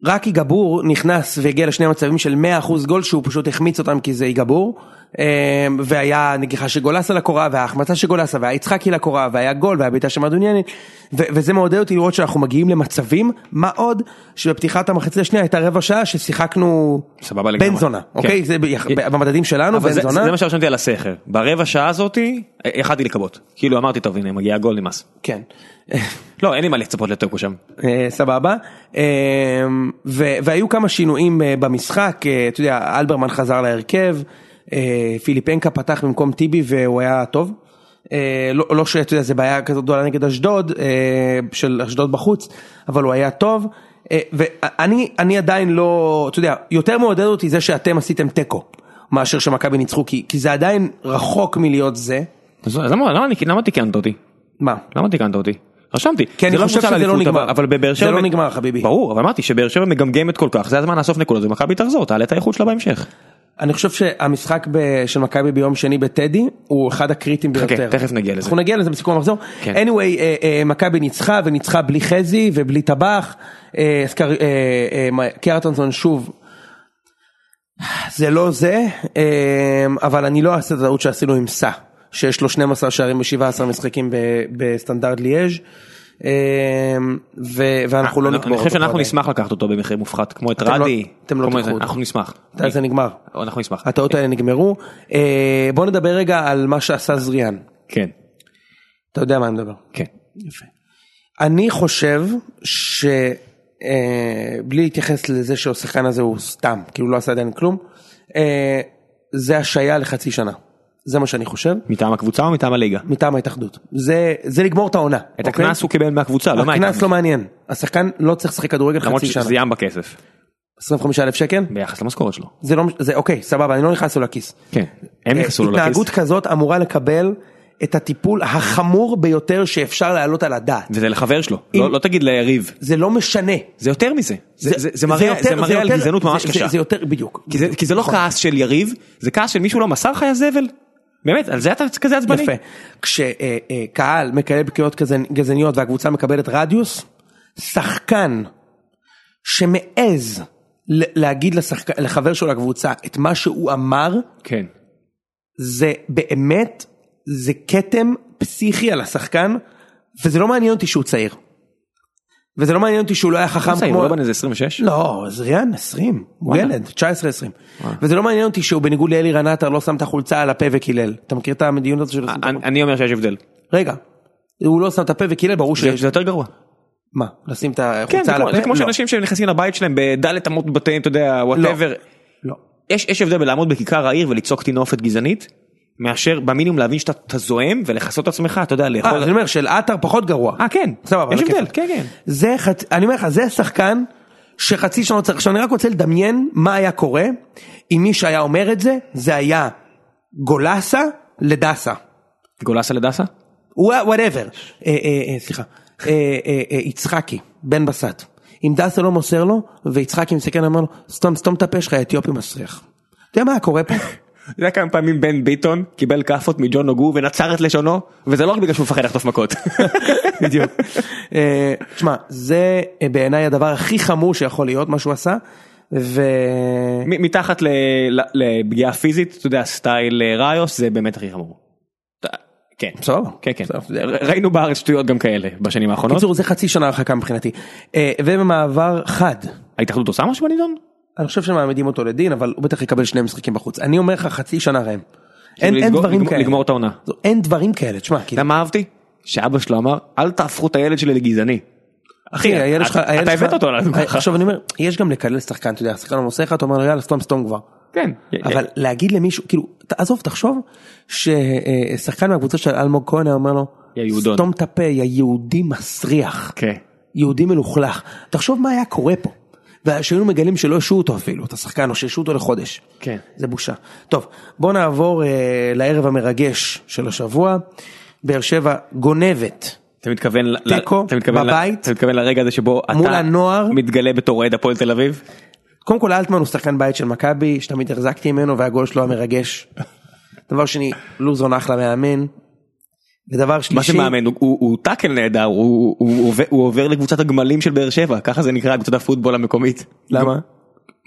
Speaker 2: רק יגבור נכנס והגיע לשני מצבים של 100% גול שהוא פשוט החמיץ אותם כי זה יגבור. אה, והיה נגיחה של גולסה לקורה וההחמצה של גולסה והיה יצחקי לקורה והיה גול והיה בעיטה של מדוניאני ו- וזה מעודד אותי לראות שאנחנו מגיעים למצבים מה עוד שבפתיחת המחצית השנייה הייתה רבע שעה ששיחקנו
Speaker 1: סבבה לגמרי.
Speaker 2: בן זונה אוקיי
Speaker 1: כן.
Speaker 2: זה ביח- במדדים שלנו
Speaker 1: אבל
Speaker 2: בן
Speaker 1: זה,
Speaker 2: זונה
Speaker 1: זה מה שרשמתי על הסכר ברבע שעה הזאתי אה, יכלתי לכבות כאילו אמרתי טוב הנה מגיע גול נמאס.
Speaker 2: כן
Speaker 1: לא אין לי מה לצפות לתיקו שם.
Speaker 2: אה, סבבה אה, ו- והיו כמה שינויים אה, במשחק אה, אתה יודע אלברמן חזר להרכב אה, פיליפנקה פתח במקום טיבי והוא היה טוב. אה, לא, לא שאתה יודע זה בעיה כזאת גדולה נגד אשדוד אה, של אשדוד בחוץ אבל הוא היה טוב אה, ואני אני עדיין לא אתה יודע יותר מעודד אותי זה שאתם עשיתם תיקו מאשר שמכבי ניצחו כי, כי זה עדיין רחוק מלהיות זה
Speaker 1: אז אז למה למה אני- למה תיקנת אותי?
Speaker 2: מה
Speaker 1: למה תיקנת אותי? רשמתי.
Speaker 2: כי אני
Speaker 1: זה
Speaker 2: חושב
Speaker 1: קבוצה
Speaker 2: שזה
Speaker 1: לאליפות,
Speaker 2: לא נגמר.
Speaker 1: אבל- אבל בבאר שבע...
Speaker 2: זה לא נגמר, חביבי.
Speaker 1: ברור, אבל אמרתי שבאר שבע מגמגמת כל כך, זה הזמן לאסוף נקודות ומכבי תחזור, תעלה את האיכות שלה בהמשך.
Speaker 2: אני חושב שהמשחק ב- של מכבי ביום שני בטדי הוא אחד הקריטיים
Speaker 1: חכה,
Speaker 2: ביותר.
Speaker 1: תכף נגיע לזה.
Speaker 2: אנחנו נגיע לזה בסיכום המחזור.
Speaker 1: כן.
Speaker 2: anyway, אה, אה, מכבי ניצחה וניצחה בלי חזי ובלי טבח. אה, סקר- אה, אה, מה- קרטנסון שוב. זה לא זה, אה, אבל אני לא אעשה את הטעות שעשינו עם סע, שיש לו 12 שערים ב-17 משחקים ב- בסטנדרט ליאז' אה, ו- ואנחנו לא
Speaker 1: אה, אני-
Speaker 2: נקבור
Speaker 1: אני חושב
Speaker 2: אותו
Speaker 1: שאנחנו
Speaker 2: עדיין.
Speaker 1: נשמח לקחת אותו במחיר מופחת, כמו את
Speaker 2: אתם לא-
Speaker 1: רדי.
Speaker 2: אתם לא
Speaker 1: כמו
Speaker 2: תיקחו
Speaker 1: זה,
Speaker 2: אותו.
Speaker 1: אנחנו נשמח.
Speaker 2: אתה יודע, זה נגמר.
Speaker 1: אנחנו נשמח.
Speaker 2: הטעות האלה נגמרו. אה, בוא נדבר רגע על מה שעשה זריאן.
Speaker 1: כן,
Speaker 2: אתה יודע מה אני מדבר.
Speaker 1: כן.
Speaker 2: יפה. אני חושב ש... אה, בלי להתייחס לזה שהשחקן הזה הוא סתם, כאילו לא עשה עדיין כלום, אה, זה השעיה לחצי שנה. זה מה שאני חושב,
Speaker 1: מטעם הקבוצה או מטעם הליגה?
Speaker 2: מטעם ההתאחדות. זה, זה לגמור את העונה. אוקיי?
Speaker 1: את הקנס הוא קיבל מהקבוצה, לא מההתאחדות.
Speaker 2: הקנס לא מעניין. השחקן לא צריך לשחק כדורגל
Speaker 1: למרות
Speaker 2: חצי שנה.
Speaker 1: שזה ים בכסף,
Speaker 2: 25 אלף שקל?
Speaker 1: ביחס למשכורת שלו.
Speaker 2: זה לא... מש- זה אוקיי, סבבה, אני לא נכנס לו לכיס.
Speaker 1: כן. הם נכנסו לו לכיס.
Speaker 2: אה, התנהגות כזאת אמורה לקבל את הטיפול החמור ביותר שאפשר להעלות על הדעת.
Speaker 1: וזה לחבר שלו,
Speaker 2: אם-
Speaker 1: לא לא תגיד ליריב.
Speaker 2: זה לא משנה.
Speaker 1: זה יותר מזה. זה- זה- זה מראה
Speaker 2: יותר-
Speaker 1: זה מראה על
Speaker 2: יותר-
Speaker 1: גזענות ממש
Speaker 2: זה- זה-
Speaker 1: קשה.
Speaker 2: זה יותר, בדיוק.
Speaker 1: כי זה- כי זה לא כעס של יריב, זה כעס של מישהו לא מסר לך יא זבל. באמת, על זה אתה כזה עצבני.
Speaker 2: יפה. כשקהל מקלל בקריאות גזענ- גזעניות והקבוצה מקבלת רדיוס, שחקן שמעז ל- להגיד לשחק- לחבר שלו לקבוצה את מה שהוא אמר,
Speaker 1: כן.
Speaker 2: זה באמת, זה כתם פסיכי על השחקן, וזה לא מעניין אותי שהוא צעיר. וזה לא מעניין אותי שהוא לא היה חכם
Speaker 1: כמה צעיר,
Speaker 2: כמו...
Speaker 1: הוא לא בן איזה 26?
Speaker 2: לא, זריאן 20, הוא
Speaker 1: וואלה.
Speaker 2: ילד, 19-20. וזה לא מעניין אותי שהוא בניגוד לאלירן עטר לא שם את החולצה על הפה וקילל. אתה מכיר את המדיניות הזאת של...
Speaker 1: אה, אני- אני אומר שיש הבדל.
Speaker 2: רגע, הוא לא שם את הפה וקילל, ברור
Speaker 1: זה
Speaker 2: שיש...
Speaker 1: זה יותר גרוע.
Speaker 2: מה? לשים את
Speaker 1: כן, זה
Speaker 2: החולצה על
Speaker 1: כמו-
Speaker 2: הפה?
Speaker 1: זה כמו
Speaker 2: לא.
Speaker 1: שאנשים שנכנסים לבית שלהם בדלת אמות בתיהם, אתה יודע, וואטאבר.
Speaker 2: לא.
Speaker 1: יש יש הבדל בלעמוד בכיכר העיר ולצעוק תינופת גזענית, מאשר במינימום להבין שאתה אתה זועם ולכסות את עצמך, אתה יודע,
Speaker 2: אה, אז אני
Speaker 1: לאכול...
Speaker 2: אומר, של עטר פחות גרוע.
Speaker 1: אה, כן.
Speaker 2: סבבה, לא
Speaker 1: יש
Speaker 2: על
Speaker 1: הבדל,
Speaker 2: הכיפאק.
Speaker 1: כן, כן.
Speaker 2: זה חצי, אני אומר לך, זה שחקן שחצי שנה לא צריך, עכשיו אני רק רוצה לדמיין מה היה קורה אם מי שהיה אומר את זה, זה היה גולסה לדסה.
Speaker 1: גולסה לדסה?
Speaker 2: וואטאבר. אה, סליחה. אה, אה, אה, יצחקי, בן בסט. אם דסה לא מוסר לו, ויצחקי מסתכל ואומר לו, סתום, סתום את הפה שלך, אתיופי מסריח. אתה יודע מה היה קורה פה?
Speaker 1: אתה יודע כמה פעמים בן ביטון קיבל כאפות מג'ון נוגו ונצר את לשונו וזה לא רק בגלל שהוא מפחד לחטוף מכות.
Speaker 2: בדיוק. אה, תשמע, זה אה, בעיניי הדבר הכי חמור שיכול להיות, מה שהוא עשה, ו...
Speaker 1: מ- מתחת ל- ל- לפגיעה פיזית אתה יודע סטייל אה, ראיוס זה באמת הכי חמור. אתה- כן.
Speaker 2: בסדר.
Speaker 1: כן כן.
Speaker 2: בסדר.
Speaker 1: ר- ראינו בארץ שטויות גם כאלה בשנים האחרונות.
Speaker 2: בקיצור, זה חצי שנה הרחקה מבחינתי. אה, ובמעבר חד,
Speaker 1: ההתאחדות עושה משהו בנידון?
Speaker 2: אני חושב שמעמידים אותו לדין, אבל הוא בטח יקבל שני משחקים בחוץ. אני אומר לך, חצי שנה ראם. אין אין
Speaker 1: כאילו לגמור-
Speaker 2: דברים
Speaker 1: לגמור-
Speaker 2: כאלה.
Speaker 1: לגמור את העונה. אתה
Speaker 2: זו- אין דברים כאלה, תשמע,
Speaker 1: יודע
Speaker 2: כאילו,
Speaker 1: מה אהבתי? שאבא שלו אמר אל תהפכו את הילד שלי לגזעני.
Speaker 2: אחי, הילד
Speaker 1: אתה-
Speaker 2: שלך, הילד
Speaker 1: אתה
Speaker 2: שלך-
Speaker 1: הבאת אותו עלינו
Speaker 2: אה,
Speaker 1: ככה.
Speaker 2: עכשיו אני אומר, יש גם לקלל שחקן, אתה יודע, השחקן לא מוסר לך, אתה אומר לו יאללה, סתום סתום כבר.
Speaker 1: כן.
Speaker 2: אבל להגיד למישהו, כאילו, עזוב, תחשוב, ששחקן מהקבוצה של אלמוג כהן היה אומר לו,
Speaker 1: יא יהודון.
Speaker 2: סתום את הפה, יא יהודי מסריח,
Speaker 1: כן.
Speaker 2: יהודי מלוכלך. תחשוב מה היה קורה פה. ושהיינו מגלים שלא השעו אותו אפילו, את השחקן, או שהשעו אותו לחודש.
Speaker 1: כן.
Speaker 2: זה בושה. טוב, בוא נעבור אה, לערב המרגש של השבוע. באר שבע גונבת
Speaker 1: אתה מתכוון ל-
Speaker 2: תיקו,
Speaker 1: אתה מתכוון ל-
Speaker 2: בבית.
Speaker 1: אתה מתכוון לרגע הזה שבו אתה
Speaker 2: מול הנוער.
Speaker 1: מתגלה בתור אוהד הפועל תל אביב.
Speaker 2: קודם כל אלטמן הוא שחקן בית של מכבי שתמיד החזקתי ממנו והגול שלו המרגש. דבר שני לוזון אחלה מאמן. ודבר
Speaker 1: מה
Speaker 2: שלישי,
Speaker 1: שמאמן הוא- הוא הוא טאקל נהדר הוא- הוא- הוא עובר- הוא עובר לקבוצת הגמלים של באר שבע ככה זה נקרא קבוצת הפוטבול המקומית.
Speaker 2: למה?
Speaker 1: לא.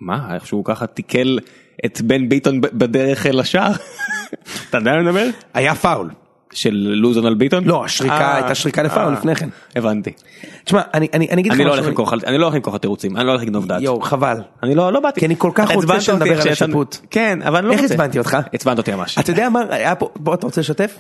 Speaker 1: מה איך שהוא ככה תיקל את בן ביטון ב- בדרך אל השער. אתה יודע מה אני מדבר?
Speaker 2: היה פאול.
Speaker 1: של לוזון על ביטון?
Speaker 2: לא, השריקה
Speaker 1: אה,
Speaker 2: הייתה שריקה לפאול
Speaker 1: אה,
Speaker 2: לפני כן.
Speaker 1: הבנתי.
Speaker 2: תשמע, אני, אני, אני אגיד לך
Speaker 1: אני לא
Speaker 2: משהו,
Speaker 1: הולך עם כוח אני לא הולך עם כוח התירוצים אני לא הולך לגנוב דעת.
Speaker 2: יואו, חבל.
Speaker 1: אני לא לא באתי.
Speaker 2: כי אני כל כך
Speaker 1: אתה
Speaker 2: רוצה
Speaker 1: עצבנת
Speaker 2: שנדבר
Speaker 1: אותי איך
Speaker 2: על
Speaker 1: שיצאנו-
Speaker 2: השיפוט.
Speaker 1: כן אבל אני לא
Speaker 2: איך
Speaker 1: רוצה.
Speaker 2: עצבנתי אותך?
Speaker 1: עצבנת אותי ממש.
Speaker 2: אתה יודע מה, היה פה, בוא, אתה רוצה לשתף?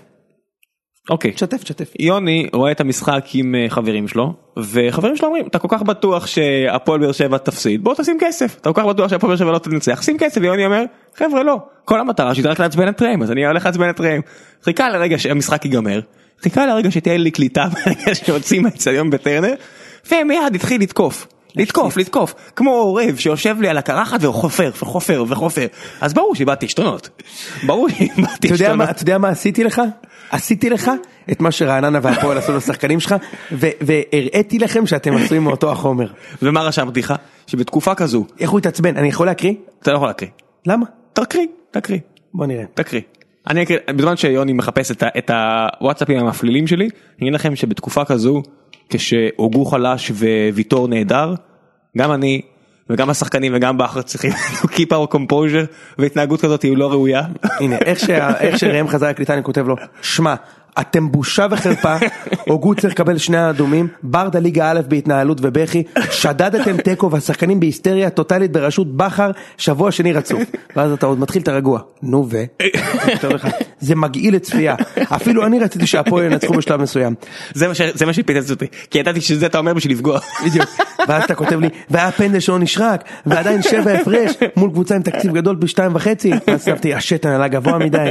Speaker 1: אוקיי.
Speaker 2: תשתף, תשתף.
Speaker 1: יוני רואה את המשחק עם אה, חברים שלו וחברים שלו אומרים אתה כל כך בטוח שהפועל באר שבע תפסיד בוא תשים כסף אתה כל כך בטוח שהפועל באר שבע לא תנצח שים כסף ויוני אומר חבר'ה לא כל המטרה שלי זה רק לעצבן את ראם אז אני הולך לעצבן את ראם. חיכה לרגע שהמשחק ייגמר חיכה לרגע שתהיה לי קליטה ברגע שיוצאים מהאצטדיון בטרנר ומיד התחיל לתקוף לתקוף, לתקוף. כמו עורב שיושב לי על הקרחת וחופר, וחופר, וחופר. אז ברור שאיבדתי עשתונות. ברור שאיבדתי
Speaker 2: אתה יודע מה-
Speaker 1: עשתונות.
Speaker 2: אתה יודע מה עשיתי לך? עשיתי לך את מה שרעננה והפועל עשו לשחקנים שלך, ו- והראיתי לכם שאתם עשויים מאותו החומר.
Speaker 1: ומה רשמתי לך? שבתקופה כזו,
Speaker 2: איך הוא התעצבן? אני יכול להקריא?
Speaker 1: אתה לא יכול להקריא.
Speaker 2: למה?
Speaker 1: תקריא, תקריא,
Speaker 2: בוא נראה.
Speaker 1: תקריא. אני אקריא, בזמן שיוני מחפש את, ה, את הוואטסאפים המפלילים שלי, אני אגיד לכם שבתקופה כזו, כשהוגו חלש וויטור נהדר, גם אני וגם השחקנים וגם בכר צריכים to keep our composure, והתנהגות כזאת היא לא ראויה.
Speaker 2: הנה, איך שה- איך שראם חזר לקליטה אני כותב לו, שמע, אתם בושה וחרפה, הוגו צריך לקבל שני האדומים, ברדה ליגה א' בהתנהלות ובכי, שדדתם תיקו והשחקנים בהיסטריה טוטאלית בראשות בכר, שבוע שני רצוף. ואז אתה עוד מתחיל את הרגוע, נו ו? אני כותב לך, זה מגעיל לצפייה, אפילו אני רציתי שהפועל ינצחו בשלב מסוים.
Speaker 1: זה מה, ש- זה מה שפיצץ אותי, כי ידעתי שזה אתה אומר בשביל לפגוע.
Speaker 2: בדיוק. ואז אתה כותב לי, והיה פנדל שלא נשרק, ועדיין שבע הפרש, מול קבוצה עם תקציב גדול פי שתיים וחצי, ואז כתבתי, השתן עלה גבוה מדי.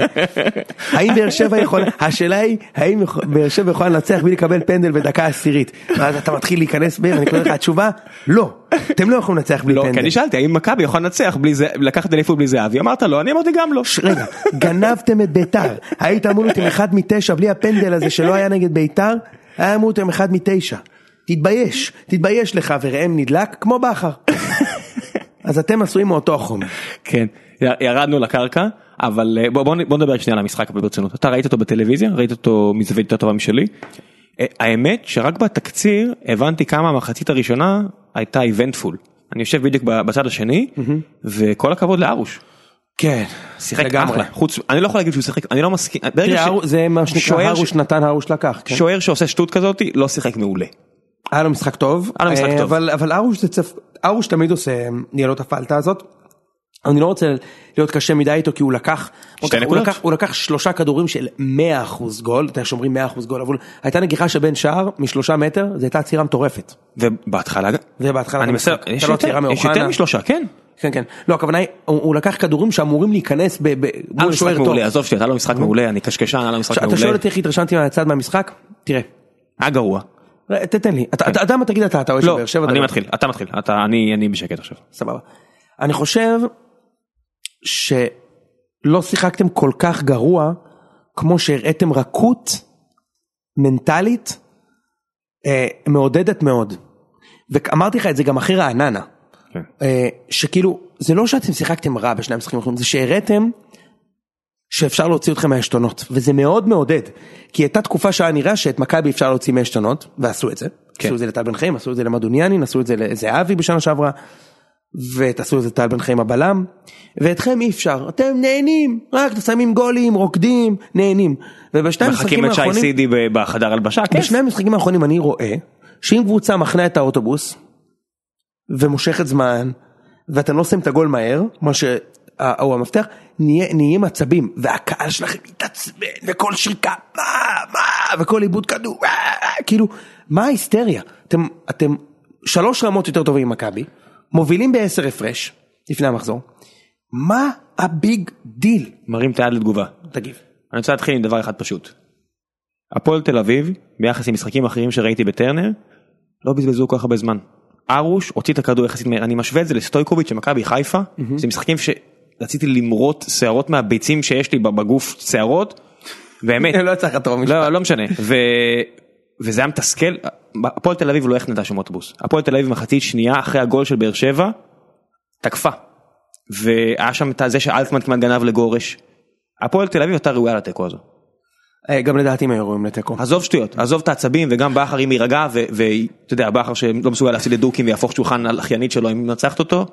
Speaker 2: האם באר שבע יכולה, השאלה היא, האם יכ- באר שבע יכולה לנצח בלי לקבל פנדל בדקה עשירית? ואז אתה מתחיל להיכנס בי, ואני קורא לך, התשובה, לא, אתם לא יכולים לנצח בלי
Speaker 1: לא, כי
Speaker 2: פנדל.
Speaker 1: אני שאלתי האם מכבי יכולה לנצח בלי זה, לקחת אליפות בלי זהבי, אמרת לא, אני אמרתי גם לא.
Speaker 2: ש- רגע, גנבתם את ביתר, היית אמור להיות עם אחד מתשע בלי הפנדל הזה שלא היה נגד ביתר, היה אמור להיות עם אחד מתשע. תתבייש, תתבייש לך וראם נדלק כמו בכר. אז אתם עשויים מאותו החומר.
Speaker 1: כן, י- ירדנו לקרקע, אבל אה, בוא, בוא, נ- בוא נדבר שנייה על המשחק אבל ברצינות. אתה ראית אותו בטלוויזיה, ראית אותו מזווית יותר טובה משלי. אה, האמת שרק בתקציר הבנתי כמה המחצית הראשונה הייתה איבנטפול. אני יושב בדיוק ב- בצד השני, וכל הכבוד לארוש.
Speaker 2: כן,
Speaker 1: שיחק אחלה, חוץ, אני לא יכול להגיד שהוא שיחק, אני לא מסכים, ברגע ש-
Speaker 2: תראה, הרוש- זה מה שנקרא
Speaker 1: שוער ש-
Speaker 2: הרוש נתן הרוש לקח. כן.
Speaker 1: שוער שעושה שטות כזאת לא שיחק מעולה.
Speaker 2: היה לו משחק טוב,
Speaker 1: היה לו משחק
Speaker 2: אה,
Speaker 1: טוב.
Speaker 2: אבל אבל הרוש זה צפ... הרוש תמיד עושה ניהל לו את הפלטה הזאת. אני לא רוצה להיות קשה מדי איתו כי הוא לקח, הוא לקח- הוא
Speaker 1: נקודות.
Speaker 2: לקח, הוא לקח שלושה כדורים של 100% גול, אתה יודע שאומרים 100% גול, אבל הייתה נגיחה שבין שער משלושה מטר, זו הייתה עצירה מטורפת.
Speaker 1: ובהתחלה,
Speaker 2: זה בהתחלה.
Speaker 1: אני
Speaker 2: במשחק.
Speaker 1: מנסה,
Speaker 2: הייתה
Speaker 1: יש
Speaker 2: לו
Speaker 1: יותר-
Speaker 2: עצירה
Speaker 1: יש יותר
Speaker 2: לא מאוחנה.
Speaker 1: משלושה, כן.
Speaker 2: כן כן, לא הכוונה היא, הוא, הוא לקח כדורים שאמורים להיכנס ב, ב,
Speaker 1: היה לו
Speaker 2: מול
Speaker 1: אה, משחק
Speaker 2: שוער טוב.
Speaker 1: מעולה, עזוב שלי, היה לו משחק מעולה, אני קשקשן, היה לו משחק
Speaker 2: עכשיו, אתה שואל
Speaker 1: מעולה.
Speaker 2: אותי איך התרשמתי מהצד מהמשחק? תראה,
Speaker 1: היה גרוע.
Speaker 2: ת- תתן לי, אתה אתה יודע מה תגיד אתה, אתה אוהד של
Speaker 1: כן. לא,
Speaker 2: באר שבע, אתה
Speaker 1: אני
Speaker 2: לא.
Speaker 1: מתחיל, אתה מתחיל, אתה, אני, אני בשקט עכשיו.
Speaker 2: סבבה. אני חושב שלא שיחקתם כל כך גרוע כמו שהראיתם רכות מנטלית אה, מעודדת מאוד. ואמרתי לך את זה גם אחרי רעננה.
Speaker 1: כן.
Speaker 2: אה, שכאילו זה לא שאתם שיחקתם רע בשני המשחקים האחרונים זה שהראיתם שאפשר להוציא אתכם מהעשתונות וזה מאוד מעודד כי הייתה תקופה שהיה נראה שאת מכבי אפשר להוציא מהעשתונות ועשו את זה.
Speaker 1: כן.
Speaker 2: עשו את זה לטל בן חיים עשו את זה למדוניאנין עשו את זה לזהבי בשנה שעברה ותעשו את זה טל בן חיים הבלם ואתכם אי אפשר אתם נהנים רק שמים גולים רוקדים נהנים ובשני המשחקים
Speaker 1: מחכים את שי
Speaker 2: האחרונים
Speaker 1: סידי ב- בחדר הלבשה, כן. כיף.
Speaker 2: בשני המשחקים האחרונים אני רואה שאם קבוצה מחנה את האוטובוס ומושכת זמן ואתם לא עושים את הגול מהר מה שהוא המפתח נהיה, נהיים עצבים והקהל שלכם מתעצבן וכל שריקה מה מה וכל עיבוד כדור "אה, אה", כאילו מה ההיסטריה אתם אתם שלוש רמות יותר טובים ממכבי מובילים בעשר הפרש לפני המחזור מה הביג דיל
Speaker 1: מרים את היד לתגובה.
Speaker 2: תגיב
Speaker 1: אני רוצה להתחיל עם דבר אחד פשוט. הפועל תל אביב, ביחס למשחקים אחרים שראיתי בטרנר, לא בזבזו כל כך הרבה זמן. ארוש הוציא את הכדור יחסית מהר, אני משווה את זה לסטויקוביץ' של מכבי חיפה, זה משחקים שרציתי למרוט שערות מהביצים שיש לי בגוף שערות, באמת,
Speaker 2: לא יצא לך טוב
Speaker 1: לא, לא משנה. ו... וזה היה מתסכל, הפועל תל אביב לא החנתה שום אוטובוס. הפועל תל אביב מחצית שנייה אחרי הגול של באר שבע, תקפה. והיה שם את זה שאלטמן כמעט גנב לגורש. הפועל תל אביב הייתה ראויה לתיקו הזו.
Speaker 2: אה, גם לדעתי הם היו ראויים לתיקו
Speaker 1: נכון. עזוב שטויות, עזוב את העצבים וגם בכר אם יירגע ו- ואתה יודע, בכר שלא מסוגל להפסיד לדוקים ויהפוך שולחן על אחיינית שלו אם נצחת אותו,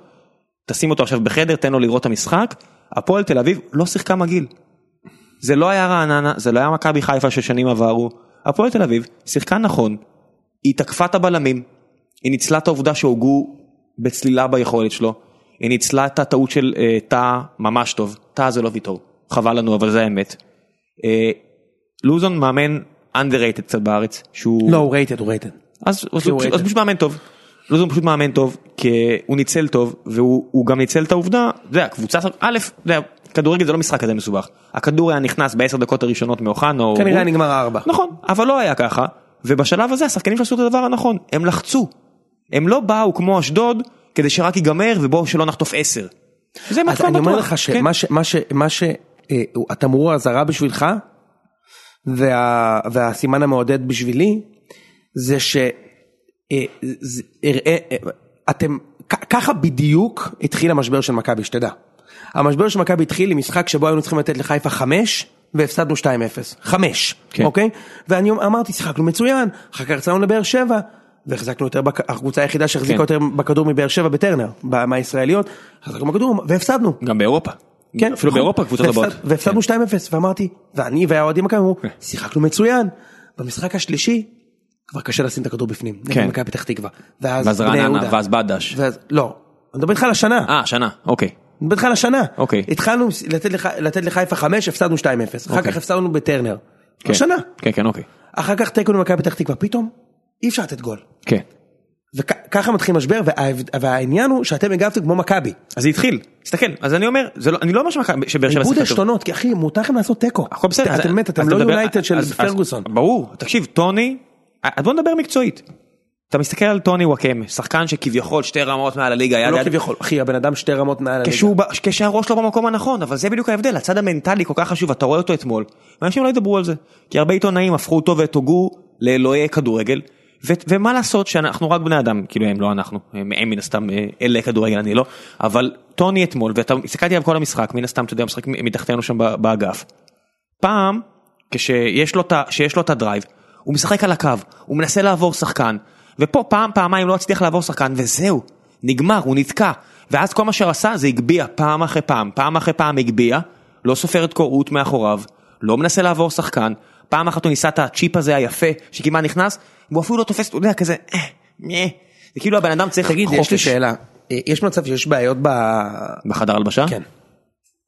Speaker 1: תשים אותו עכשיו בחדר, תן לו לראות את המשחק, הפועל תל אביב לא שיחקה מגעיל. זה לא היה רעננה, זה לא היה מכבי חיפה ששנים עברו, הפועל תל אביב שיחקה נכון, היא תקפה את הבלמים, היא ניצלה את העובדה שהוגו בצלילה ביכולת שלו, היא ניצלה את הטעות של אה, טאה ממש טוב, טאה זה לא ויטור, חבל לנו אבל זה האמת. אה, לוזון מאמן underrated קצת בארץ, שהוא...
Speaker 2: לא הוא רייטד הוא רייטד
Speaker 1: אז אז
Speaker 2: הוא
Speaker 1: הוא
Speaker 2: רייטד.
Speaker 1: אז הוא פשוט מאמן טוב. לוזון פשוט מאמן טוב, כי הוא ניצל טוב, והוא הוא גם ניצל את העובדה, אתה יודע, קבוצה, א', אתה יודע, כדורגל זה לא משחק כזה מסובך. הכדור היה נכנס בעשר דקות הראשונות מאוחנה, או...
Speaker 2: כנראה
Speaker 1: הוא-
Speaker 2: נגמר ארבע.
Speaker 1: לא נכון, אבל לא היה ככה, ובשלב הזה השחקנים שעשו את הדבר הנכון, הם לחצו. הם לא באו כמו אשדוד כדי שרק ייגמר ובואו שלא נחטוף 10. זה
Speaker 2: אז
Speaker 1: מתכון
Speaker 2: אני אומר
Speaker 1: בטוח,
Speaker 2: לך
Speaker 1: כן.
Speaker 2: שמה ש- מה ש- מה שהתמרור האזהרה בשבילך, וה- והסימן המעודד בשבילי, זה ש... אה, זה- אראה- אה, אתם... כ- ככה בדיוק התחיל המשבר של מכבי, שתדע. המשבר של מכבי התחיל עם משחק שבו היינו צריכים לתת לחיפה חמש, והפסדנו 2-0. חמש,
Speaker 1: כן.
Speaker 2: אוקיי? ואני אמרתי, שיחקנו מצוין, אחר כך יצאנו לבאר שבע, והחזקנו יותר, בכ- הקבוצה היחידה שהחזיקה
Speaker 1: כן.
Speaker 2: יותר בכדור מבאר שבע בטרנר, ב- מהישראליות, חזקנו בכדור, והפסדנו.
Speaker 1: גם באירופה.
Speaker 2: כן,
Speaker 1: אפילו
Speaker 2: נכון.
Speaker 1: באירופה קבוצות
Speaker 2: והפסד-
Speaker 1: הבאות. כן.
Speaker 2: והפסדנו 2-0 ואמרתי ואני והאוהדים מכבי אמרו שיחקנו מצוין במשחק השלישי כבר קשה לשים את הכדור בפנים נגד
Speaker 1: כן.
Speaker 2: מכבי פתח תקווה ואז
Speaker 1: ואז
Speaker 2: בני
Speaker 1: רעננה,
Speaker 2: יהודה.
Speaker 1: ואז בדש.
Speaker 2: ואז לא אני מדבר איתך על השנה אני
Speaker 1: אה, שנה, אוקיי.
Speaker 2: מדבר איתך על השנה
Speaker 1: אוקיי.
Speaker 2: התחלנו לתת לח- לתת לחיפה 5 הפסדנו 2-0 אחר
Speaker 1: אוקיי.
Speaker 2: כך הפסדנו בטרנר
Speaker 1: כן.
Speaker 2: השנה
Speaker 1: כן, כן, אוקיי.
Speaker 2: אחר כך תיקו למכבי פתח תקווה פתאום אי אפשר לתת גול
Speaker 1: כן.
Speaker 2: וככה מתחיל משבר וההבד- והעניין הוא שאתם הגבתם כמו מכבי
Speaker 1: אז זה התחיל, תסתכל, אז אני אומר, זה לא- אני לא אומר שמכבי- שבאר שבע
Speaker 2: איבוד
Speaker 1: שיחקה טוב.
Speaker 2: עשתונות כי אחי מותר לכם לעשות תיקו
Speaker 1: הכל בסדר.
Speaker 2: אתם-
Speaker 1: אז-
Speaker 2: אתם באמת
Speaker 1: אז
Speaker 2: אתם לא
Speaker 1: נדבר-
Speaker 2: יונייטד של
Speaker 1: אז- אז-
Speaker 2: פרגוסון.
Speaker 1: ברור, תקשיב, טוני, אז בוא נדבר מקצועית. אתה מסתכל על טוני וואקמה, שחקן שכביכול שתי רמות מעל הליגה, היה
Speaker 2: לא
Speaker 1: ליד-
Speaker 2: כביכול, אחי הבן אדם שתי רמות מעל הליגה.
Speaker 1: כשהוא ב- כשהראש לא במקום הנכון, אבל זה בדיוק ההבדל, הצד המנטלי כל כך חשוב, אתה רואה אותו אתמול, ואנשים לא ידברו על זה, כי הרבה עיתונאים הפכו אותו ואת הוגו לאלוהי כדורגל, ו- ומה לעשות שאנחנו רק בני אדם, כאילו הם לא אנחנו, הם, הם מן הסתם אה, אלה כדורגל, אני לא, אבל טוני אתמול, ואתה, הסתכלתי עליו כל המשחק, מן הסתם, אתה יודע, הוא משחק מ- מתחתנו שם ב- באגף, פעם, כשיש לו את ה- שיש לו את הדרייב, הוא משחק על הקו, הוא מנסה לעבור שחקן, ופה פעם, פעמיים לא הצליח לעבור שחקן, וזהו, נגמר, הוא נתקע. ואז כל מה שעשה זה הגביה פעם אחרי פעם, פעם אחרי פעם הגביה, לא סופר את קורות מאחוריו, לא מנסה לעבור שחקן, פעם אחת הוא ניסה את הצ'יפ הזה היפה, שכמעט נכנס, והוא אפילו לא תופס, אתה יודע, כזה, אה, אה, זה כאילו הבן אדם צריך
Speaker 2: תגיד יש לי
Speaker 1: חופש.
Speaker 2: שאלה, אה, יש מצב שיש בעיות ב...
Speaker 1: בחדר הלבשה?
Speaker 2: כן.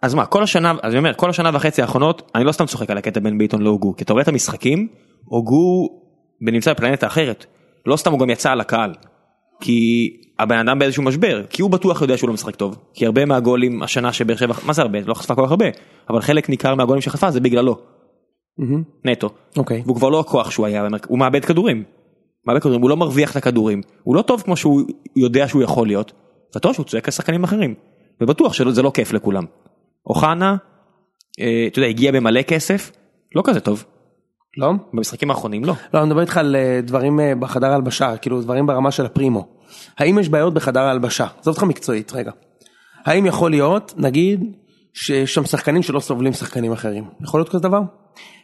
Speaker 1: אז מה, כל השנה, אז אני אומר, כל השנה וחצי האחרונות, אני לא סתם צוחק על הקטע בין ביטון להוגו, כי אתה רואה את המשחקים, הוגו נמצא בפלנטה אחרת. לא סתם הוא גם יצא על הקהל. כי הבן אדם באיזשהו משבר, כי הוא בטוח יודע שהוא לא משחק טוב. כי הרבה מהגולים השנה שבאר שבע, מה זה הרבה? לא חטפה כל כך הרבה, אבל חלק ניכר מהגולים שחטפה זה בגללו, נטו.
Speaker 2: אוקיי.
Speaker 1: והוא כבר לא הכוח שהוא היה, במרכ- הוא מאבד כדורים. מאבד כדורים, הוא לא מרוויח את הכדורים. הוא לא טוב כמו שהוא יודע שהוא יכול להיות. וטוב שהוא צועק על שחקנים אחרים. ובטוח שזה לא כיף לכולם. אוחנה, אה, אתה יודע, הגיע במלא כסף, לא כזה טוב.
Speaker 2: לא?
Speaker 1: במשחקים האחרונים לא.
Speaker 2: לא, אני מדבר איתך על אה, דברים אה, בחדר הלבשה, כאילו דברים ברמה של הפרימו. האם יש בעיות בחדר ההלבשה? עזוב אותך מקצועית, רגע. האם יכול להיות, נגיד, שיש שם שחקנים שלא סובלים שחקנים אחרים? יכול להיות כזה דבר?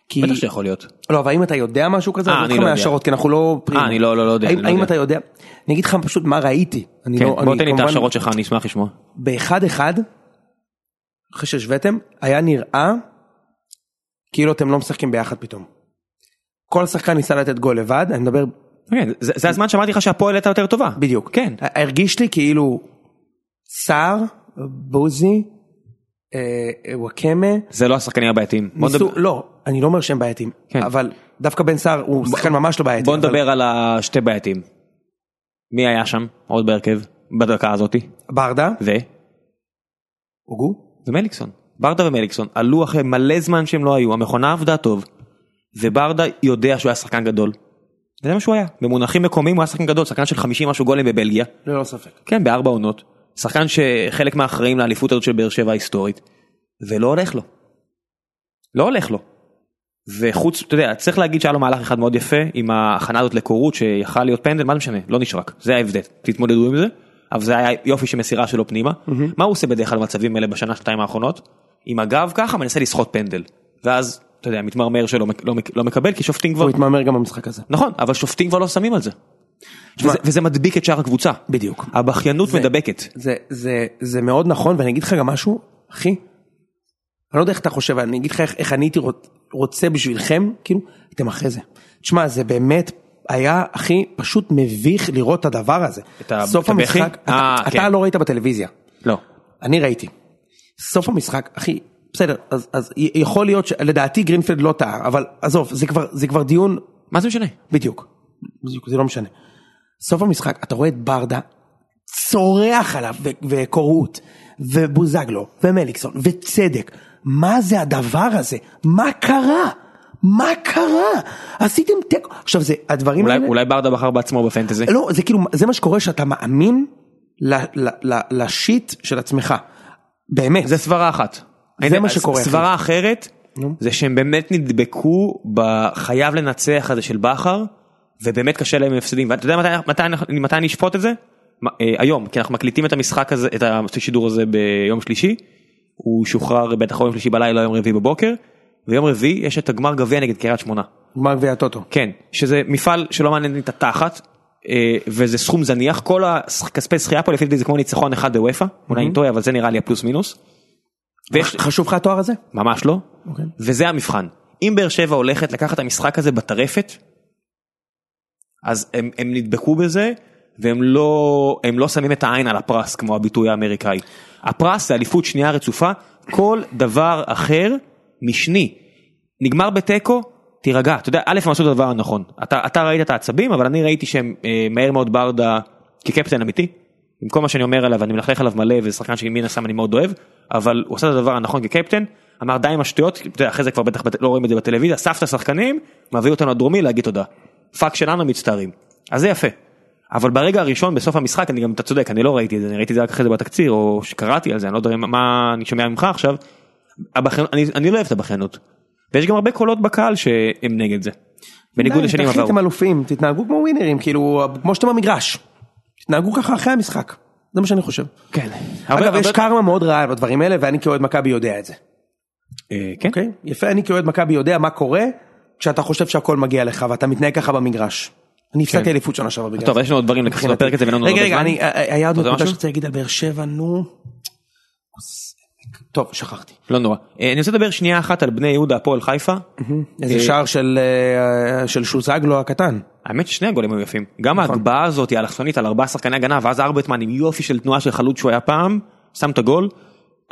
Speaker 2: כי...
Speaker 1: בטח שיכול להיות.
Speaker 2: לא, אבל האם אתה יודע משהו כזה?
Speaker 1: אה,
Speaker 2: עזוב
Speaker 1: אני
Speaker 2: אותך
Speaker 1: לא יודע.
Speaker 2: מהשערות, כי אנחנו לא פרימו.
Speaker 1: אה, אני לא- לא- לא יודע,
Speaker 2: האם-
Speaker 1: אני לא
Speaker 2: האם
Speaker 1: יודע.
Speaker 2: אתה יודע? אני אגיד לך פשוט מה ראיתי. אני
Speaker 1: כן,
Speaker 2: לא-
Speaker 1: בוא
Speaker 2: אני
Speaker 1: תן לי את
Speaker 2: כמובן-
Speaker 1: ההשערות שלך, אני אשמח לשמוע.
Speaker 2: באחד אחד, אחרי שהשוויתם, היה נראה כאילו אתם לא משחקים ביחד פתאום. כל שחקן ניסה לתת גול לבד, אני מדבר
Speaker 1: כן, זה זה הזמן שאמרתי לך שהפועל הייתה יותר טובה.
Speaker 2: בדיוק.
Speaker 1: כן.
Speaker 2: הרגיש לי כאילו סער, בוזי, אה, אה, וואקמה,
Speaker 1: זה לא השחקנים הבעייתיים. בוא
Speaker 2: ניסו,
Speaker 1: נדבר-
Speaker 2: לא, אני לא אומר שהם בעייתיים,
Speaker 1: כן.
Speaker 2: אבל דווקא בן סער הוא שחקן ממש לא בעייתי.
Speaker 1: בוא
Speaker 2: אבל-
Speaker 1: נדבר על השתי בעייתיים. מי היה שם עוד בהרכב בדקה הזאתי?
Speaker 2: ברדה,
Speaker 1: ו?
Speaker 2: הוגו,
Speaker 1: ומליקסון. ברדה ומליקסון עלו אחרי מלא זמן שהם לא היו, המכונה עבדה טוב, וברדה יודע שהוא היה שחקן גדול. זה מה שהוא היה. במונחים מקומיים הוא היה שחקן גדול, שחקן של 50 משהו גולים בבלגיה.
Speaker 2: ללא ספק.
Speaker 1: כן, בארבע עונות. שחקן שחלק מהאחראים לאליפות הזאת של באר שבע ההיסטורית. ולא הולך לו. לא הולך לו. וחוץ, אתה יודע, צריך להגיד שהיה לו מהלך אחד מאוד יפה עם ההכנה הזאת לקורות שיכל להיות פנדל, מה זה משנה, לא נשרק, זה ההבדל, תתמודדו עם זה, אבל זה היה יופי של מסירה שלו פנימה. מה הוא עושה בדרך כלל במצבים האלה בשנה שנתיים האחרונות? עם הגב ככה מנסה לסחוט פנדל, ואז, אתה יודע, מתמרמר שלא מק- לא מק- לא מקבל, כי שופטים כבר,
Speaker 2: הוא התמהמר גם במשחק הזה.
Speaker 1: נכון, אבל שופטים כבר לא שמים על זה.
Speaker 2: שמע-
Speaker 1: וזה- וזה מדביק את שאר הקבוצה.
Speaker 2: בדיוק.
Speaker 1: הבכיינות
Speaker 2: זה-
Speaker 1: מדבקת.
Speaker 2: זה, זה, זה מאוד נכון, ואני אגיד לך גם משהו, אחי, אני לא יודע איך אתה חושב, אני אגיד לך איך, איך אני הייתי רוצ- רוצה בשבילכם, כאילו, אתם אחרי זה. תשמע, זה באמת היה, אחי, פשוט מביך לראות את הדבר הזה.
Speaker 1: את ה-
Speaker 2: סוף
Speaker 1: את הבכי?
Speaker 2: המשחק,
Speaker 1: אה,
Speaker 2: אתה,
Speaker 1: כן.
Speaker 2: אתה לא ראית בטלוויזיה,
Speaker 1: לא.
Speaker 2: אני ראיתי. סוף המשחק, אחי, בסדר, אז, אז י- יכול להיות, ש- לדעתי גרינפלד לא טעה, אבל עזוב, זה כבר, זה כבר דיון
Speaker 1: מה זה משנה?
Speaker 2: בדיוק, בדיוק, זה לא משנה. סוף המשחק, אתה רואה את ברדה צורח עליו, ו- וקורות, ובוזגלו, ומליקסון, וצדק. מה זה הדבר הזה? מה קרה? מה קרה? עשיתם תיקו. עכשיו זה, הדברים
Speaker 1: אולי-
Speaker 2: האלה...
Speaker 1: אולי ברדה בחר בעצמו בפנטזי.
Speaker 2: לא, זה כאילו, זה מה שקורה שאתה מאמין ל- ל- ל- לשיט של עצמך. באמת.
Speaker 1: זה סברה אחת.
Speaker 2: מה שקורה, אחי.
Speaker 1: סברה אחרת, זה שהם באמת נדבקו בחייב לנצח הזה של בכר, ובאמת קשה להם עם הפסדים. ואתה יודע מתי, מתי, אני- מתי אני אשפוט את זה? מה- אה, היום, כי אנחנו מקליטים את המשחק הזה, את השידור הזה ביום שלישי, הוא שוחרר בטח או יום שלישי בלילה או יום רביעי בבוקר, ויום רביעי יש את הגמר גביע נגד קריית שמונה.
Speaker 2: גמר גביע הטוטו.
Speaker 1: כן, שזה מפעל שלא מעניין לי את התחת, אה, וזה סכום זניח, כל הכספי זכייה פה לפי דעתי זה כמו ניצחון אחד בוופא, אולי אני טועה אבל זה נראה לי הפלוס מינוס. ויש,
Speaker 2: חשוב לך התואר הזה?
Speaker 1: ממש לא,
Speaker 2: אוקיי.
Speaker 1: וזה המבחן. אם באר שבע הולכת לקחת את המשחק הזה בטרפת, אז הם, הם נדבקו בזה, והם לא, הם לא שמים את העין על הפרס כמו הביטוי האמריקאי. הפרס זה אליפות שנייה רצופה, כל דבר אחר משני. נגמר בתיקו, תירגע. אתה יודע, א' הם עשו את הדבר הנכון. אתה, אתה ראית את העצבים, אבל אני ראיתי שהם אה, מהר מאוד ברדה כקפטן אמיתי. עם כל מה שאני אומר עליו, אני מלכלך עליו מלא, וזה שחקן שמן הסתם אני מאוד אוהב, אבל הוא עשה את הדבר הנכון כקפטן, אמר די עם השטויות, אתה יודע, אחרי זה כבר בטח בת- לא רואים את זה בטלוויזיה, אסף את השחקנים, מביא אותנו הדרומי להגיד תודה. פאק שלנו מצטערים. אז זה יפה. אבל ברגע הראשון בסוף המשחק אני גם אתה צודק אני לא ראיתי את זה אני ראיתי את זה רק אחרי זה בתקציר או שקראתי על זה אני לא יודע מה- מה אני שומע ממך עכשיו. הבחנ... אני, אני לא אוהב את הבחנות. ויש גם הרבה קולות בקהל שהם נגד זה. בניגוד
Speaker 2: די,
Speaker 1: לשנים
Speaker 2: תחליט,
Speaker 1: עברו.
Speaker 2: אתם אלופים, תתנהגו כמו ווינרים, כאילו, כמו שאתם במגרש. תתנהגו ככה אחרי המשחק. זה מה שאני חושב.
Speaker 1: כן. הרבה-
Speaker 2: אגב, יש
Speaker 1: הרבה- כן.
Speaker 2: קרמה מאוד רעה בדברים האלה, ואני כאוהד מכבי יודע את זה.
Speaker 1: אה, כן.
Speaker 2: אוקיי? יפה, אני כאוהד מכבי יודע מה קורה כשאתה חושב שהכל מגיע לך ואתה מתנהג ככה במגרש. אני הפסדתי אליפות שנה שעברה בגלל
Speaker 1: כן. טוב יש לנו עוד דברים לקחת בפרק הזה ואין לנו
Speaker 2: רגע,
Speaker 1: הרבה
Speaker 2: רגע,
Speaker 1: זמן.
Speaker 2: אני, אה, היה עוד
Speaker 1: אתה יודע
Speaker 2: נקודה
Speaker 1: משהו?
Speaker 2: שרציתי להגיד על באר שבע, נו. טוב, שכחתי.
Speaker 1: לא נורא. אה, אני רוצה לדבר שנייה אחת על בני יהודה הפועל חיפה.
Speaker 2: איזה
Speaker 1: אה,
Speaker 2: שער של, אה, של שוזגלו הקטן.
Speaker 1: האמת ששני הגולים היו יפים. גם ההגבהה הזאת האלכסונית על ארבעה שחקני הגנה ואז ארבטמן עם יופי של תנועה של חלוץ שהוא היה פעם, שם את הגול.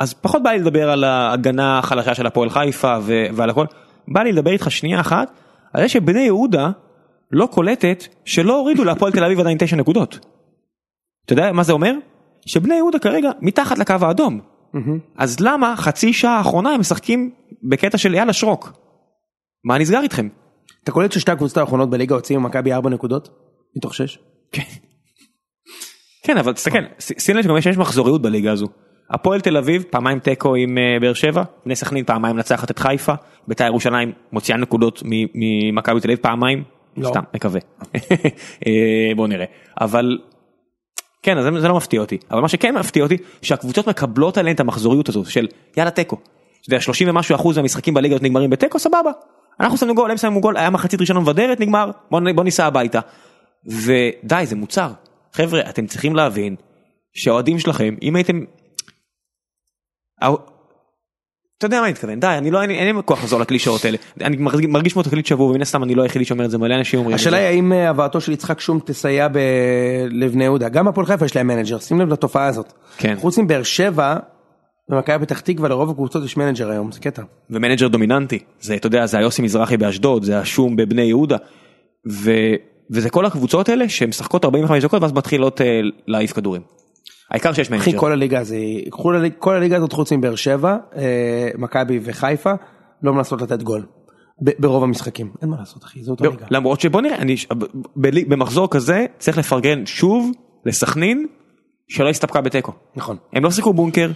Speaker 1: אז פחות בא לי לדבר על ההגנה החלשה של הפועל חיפה ו- ועל הכל. בא לי לדבר איתך שנייה אחת על זה שבני יהודה לא קולטת שלא הורידו להפועל תל אביב עדיין תשע נקודות. אתה יודע מה זה אומר? שבני יהודה כרגע מתחת לקו האדום. אז למה חצי שעה האחרונה הם משחקים בקטע של יאללה שרוק? מה נסגר איתכם?
Speaker 2: אתה קולט ששתי הקבוצות האחרונות בליגה הוציאו ממכבי ארבע נקודות? מתוך שש?
Speaker 1: כן. כן אבל תסתכל ש- שים לב שגם יש יש מחזוריות בליגה הזו. הפועל תל אביב פעמיים תיקו עם אה, באר שבע, בני סכנין פעמיים נצחת את חיפה, בית"ר ירושלים מוציאה נקודות מ- ממכבי תל אביב פעמיים,
Speaker 2: לא.
Speaker 1: סתם מקווה. אה, בוא נראה. אבל כן אז זה- זה לא מפתיע אותי אבל מה שכן מפתיע אותי שהקבוצות מקבלות עליהן את המחזוריות הזו של יאללה תיקו. אתה יודע 30 ומשהו אחוז מהמשחקים בליגה הזאת נגמרים בתיקו סבבה. אנחנו שמנו גול הם שמו גול היה מחצית ראשונה מבדרת נגמר בוא, נ- בוא ניסע הביתה. ודי זה מוצר חבר'ה אתם צריכים להבין שהאוהדים שלכם אם הייתם. האו- אתה יודע מה אני מתכוון די אני לא אין לי- אין לי כוח לחזור לקלישאות האלה אני מרגיש- מרגיש כמו תקליט שבוע ומן הסתם אני לא היחידי שאומר את זה מלא אנשים אומרים את
Speaker 2: השאלה
Speaker 1: זה.
Speaker 2: היא האם אה, הבאתו של יצחק שום תסייע ב... לבני יהודה. גם הפועל חיפה יש להם מנג'ר, שים לב לתופעה הזאת.
Speaker 1: כן.
Speaker 2: חוץ מבאר שבע, במכבי פתח תקווה לרוב הקבוצות יש מנג'ר היום, זה קטע.
Speaker 1: ומנג'ר דומיננטי זה אתה יודע זה היוסי מזרחי באשדוד זה השום בבני יהודה. ו... וזה כל הקבוצות האלה שמשחקות 45 דקות ואז מתחילות אה, להעיף כדורים. העיקר שיש
Speaker 2: אחי
Speaker 1: מנג'ר.
Speaker 2: כל הליגה הזו, כל, הליג, כל הליגה הזאת חוץ מבאר שבע, אה, מכבי וחיפה, לא מנסות לתת גול. ב- ברוב המשחקים. אין מה לעשות אחי, זאת
Speaker 1: לא,
Speaker 2: הליגה.
Speaker 1: למרות שבוא נראה אני ש- ב- ב- במחזור כזה צריך לפרגן שוב לסכנין שלא הסתפקה בתיקו.
Speaker 2: נכון.
Speaker 1: הם לא שיחקו בונקר.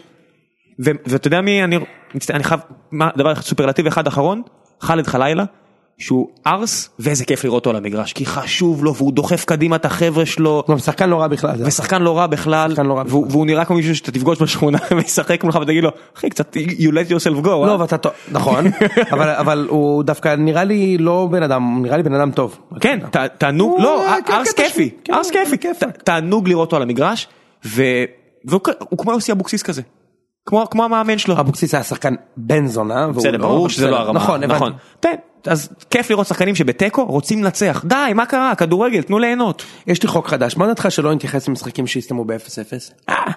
Speaker 1: ו- ואתה יודע מי אני מצטער אני חייב מה דבר אחד, סופרלטיב אחד אחרון חאלד חלילה שהוא ארס ואיזה כיף לראות אותו על המגרש כי חשוב לו והוא דוחף קדימה את החבר'ה שלו.
Speaker 2: הוא גם שחקן לא רע בכלל. זה
Speaker 1: ושחקן לא רע בכלל,
Speaker 2: שחקן לא רע
Speaker 1: והוא, והוא נראה כמו מישהו שאתה תפגוש בשכונה וישחק מולך ותגיד לו, אחי קצת you let yourself go,
Speaker 2: לא,
Speaker 1: אה?
Speaker 2: ואתה טוב, נכון, אבל, אבל הוא דווקא נראה לי לא בן אדם, הוא נראה לי בן אדם טוב.
Speaker 1: כן, ת- תענוג,
Speaker 2: הוא,
Speaker 1: לא,
Speaker 2: אה, כן,
Speaker 1: ארס
Speaker 2: קטע
Speaker 1: כיפי,
Speaker 2: של- כן,
Speaker 1: ארס כיפי,
Speaker 2: כיפק.
Speaker 1: ת- תענוג לראות אותו על המגרש, ו- והוא כ- הוא כמו יוסי אבוקסיס כזה, כמו כמו המאמן שלו,
Speaker 2: אבוקסיס היה שחקן בן זונה, והוא
Speaker 1: בסדר,
Speaker 2: לא,
Speaker 1: ברור
Speaker 2: אבל
Speaker 1: שזה לא
Speaker 2: בסדר.
Speaker 1: הרמה,
Speaker 2: נכון, הבנתי.
Speaker 1: כן, אז כיף לראות שחקנים שבתיקו רוצים לנצח, די, מה קרה, כדורגל, תנו ליהנות.
Speaker 2: יש לי חוק חדש, מה דעתך שלא נתייחס למשחקים שהסתיימו ב-0-0?
Speaker 1: אוקיי,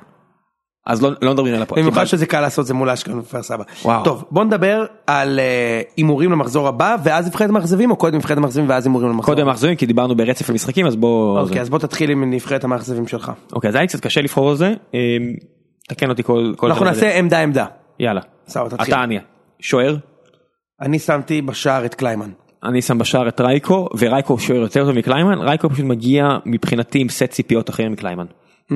Speaker 1: אז לא- לא מדברים על הפועל,
Speaker 2: במיוחד
Speaker 1: קיבלת.
Speaker 2: שזה קל לעשות זה מול אשקלון וכפר סבא.
Speaker 1: וואו.
Speaker 2: טוב, בוא נדבר על אה, הימורים למחזור הבא, ואז נבחרת המאכזבים, או קודם נבחרת המאכזבים ואז הימורים למחזור
Speaker 1: קודם מאכזבים כי דיברנו ברצף על משחקים אז בוא,
Speaker 2: אוקיי, אז בוא תתחיל עם נבחרת המאכזבים שלך.
Speaker 1: אוקיי, אז היה לי קצת קשה לבחור על זה, אה, תקן אותי כל, כל
Speaker 2: אנחנו
Speaker 1: דבר.
Speaker 2: נעשה עמדה עמדה.
Speaker 1: יאללה.
Speaker 2: סבבה, תתחיל.
Speaker 1: עטניה. שוער?
Speaker 2: אני שמתי בשער את קליימן.
Speaker 1: אני שם בשער את רייקו, ורייקו שוער יותר טוב מקליימן, רייקו פשוט מגיע מבחינתי עם סט ציפיות אחר מקליימן. Mm-hmm.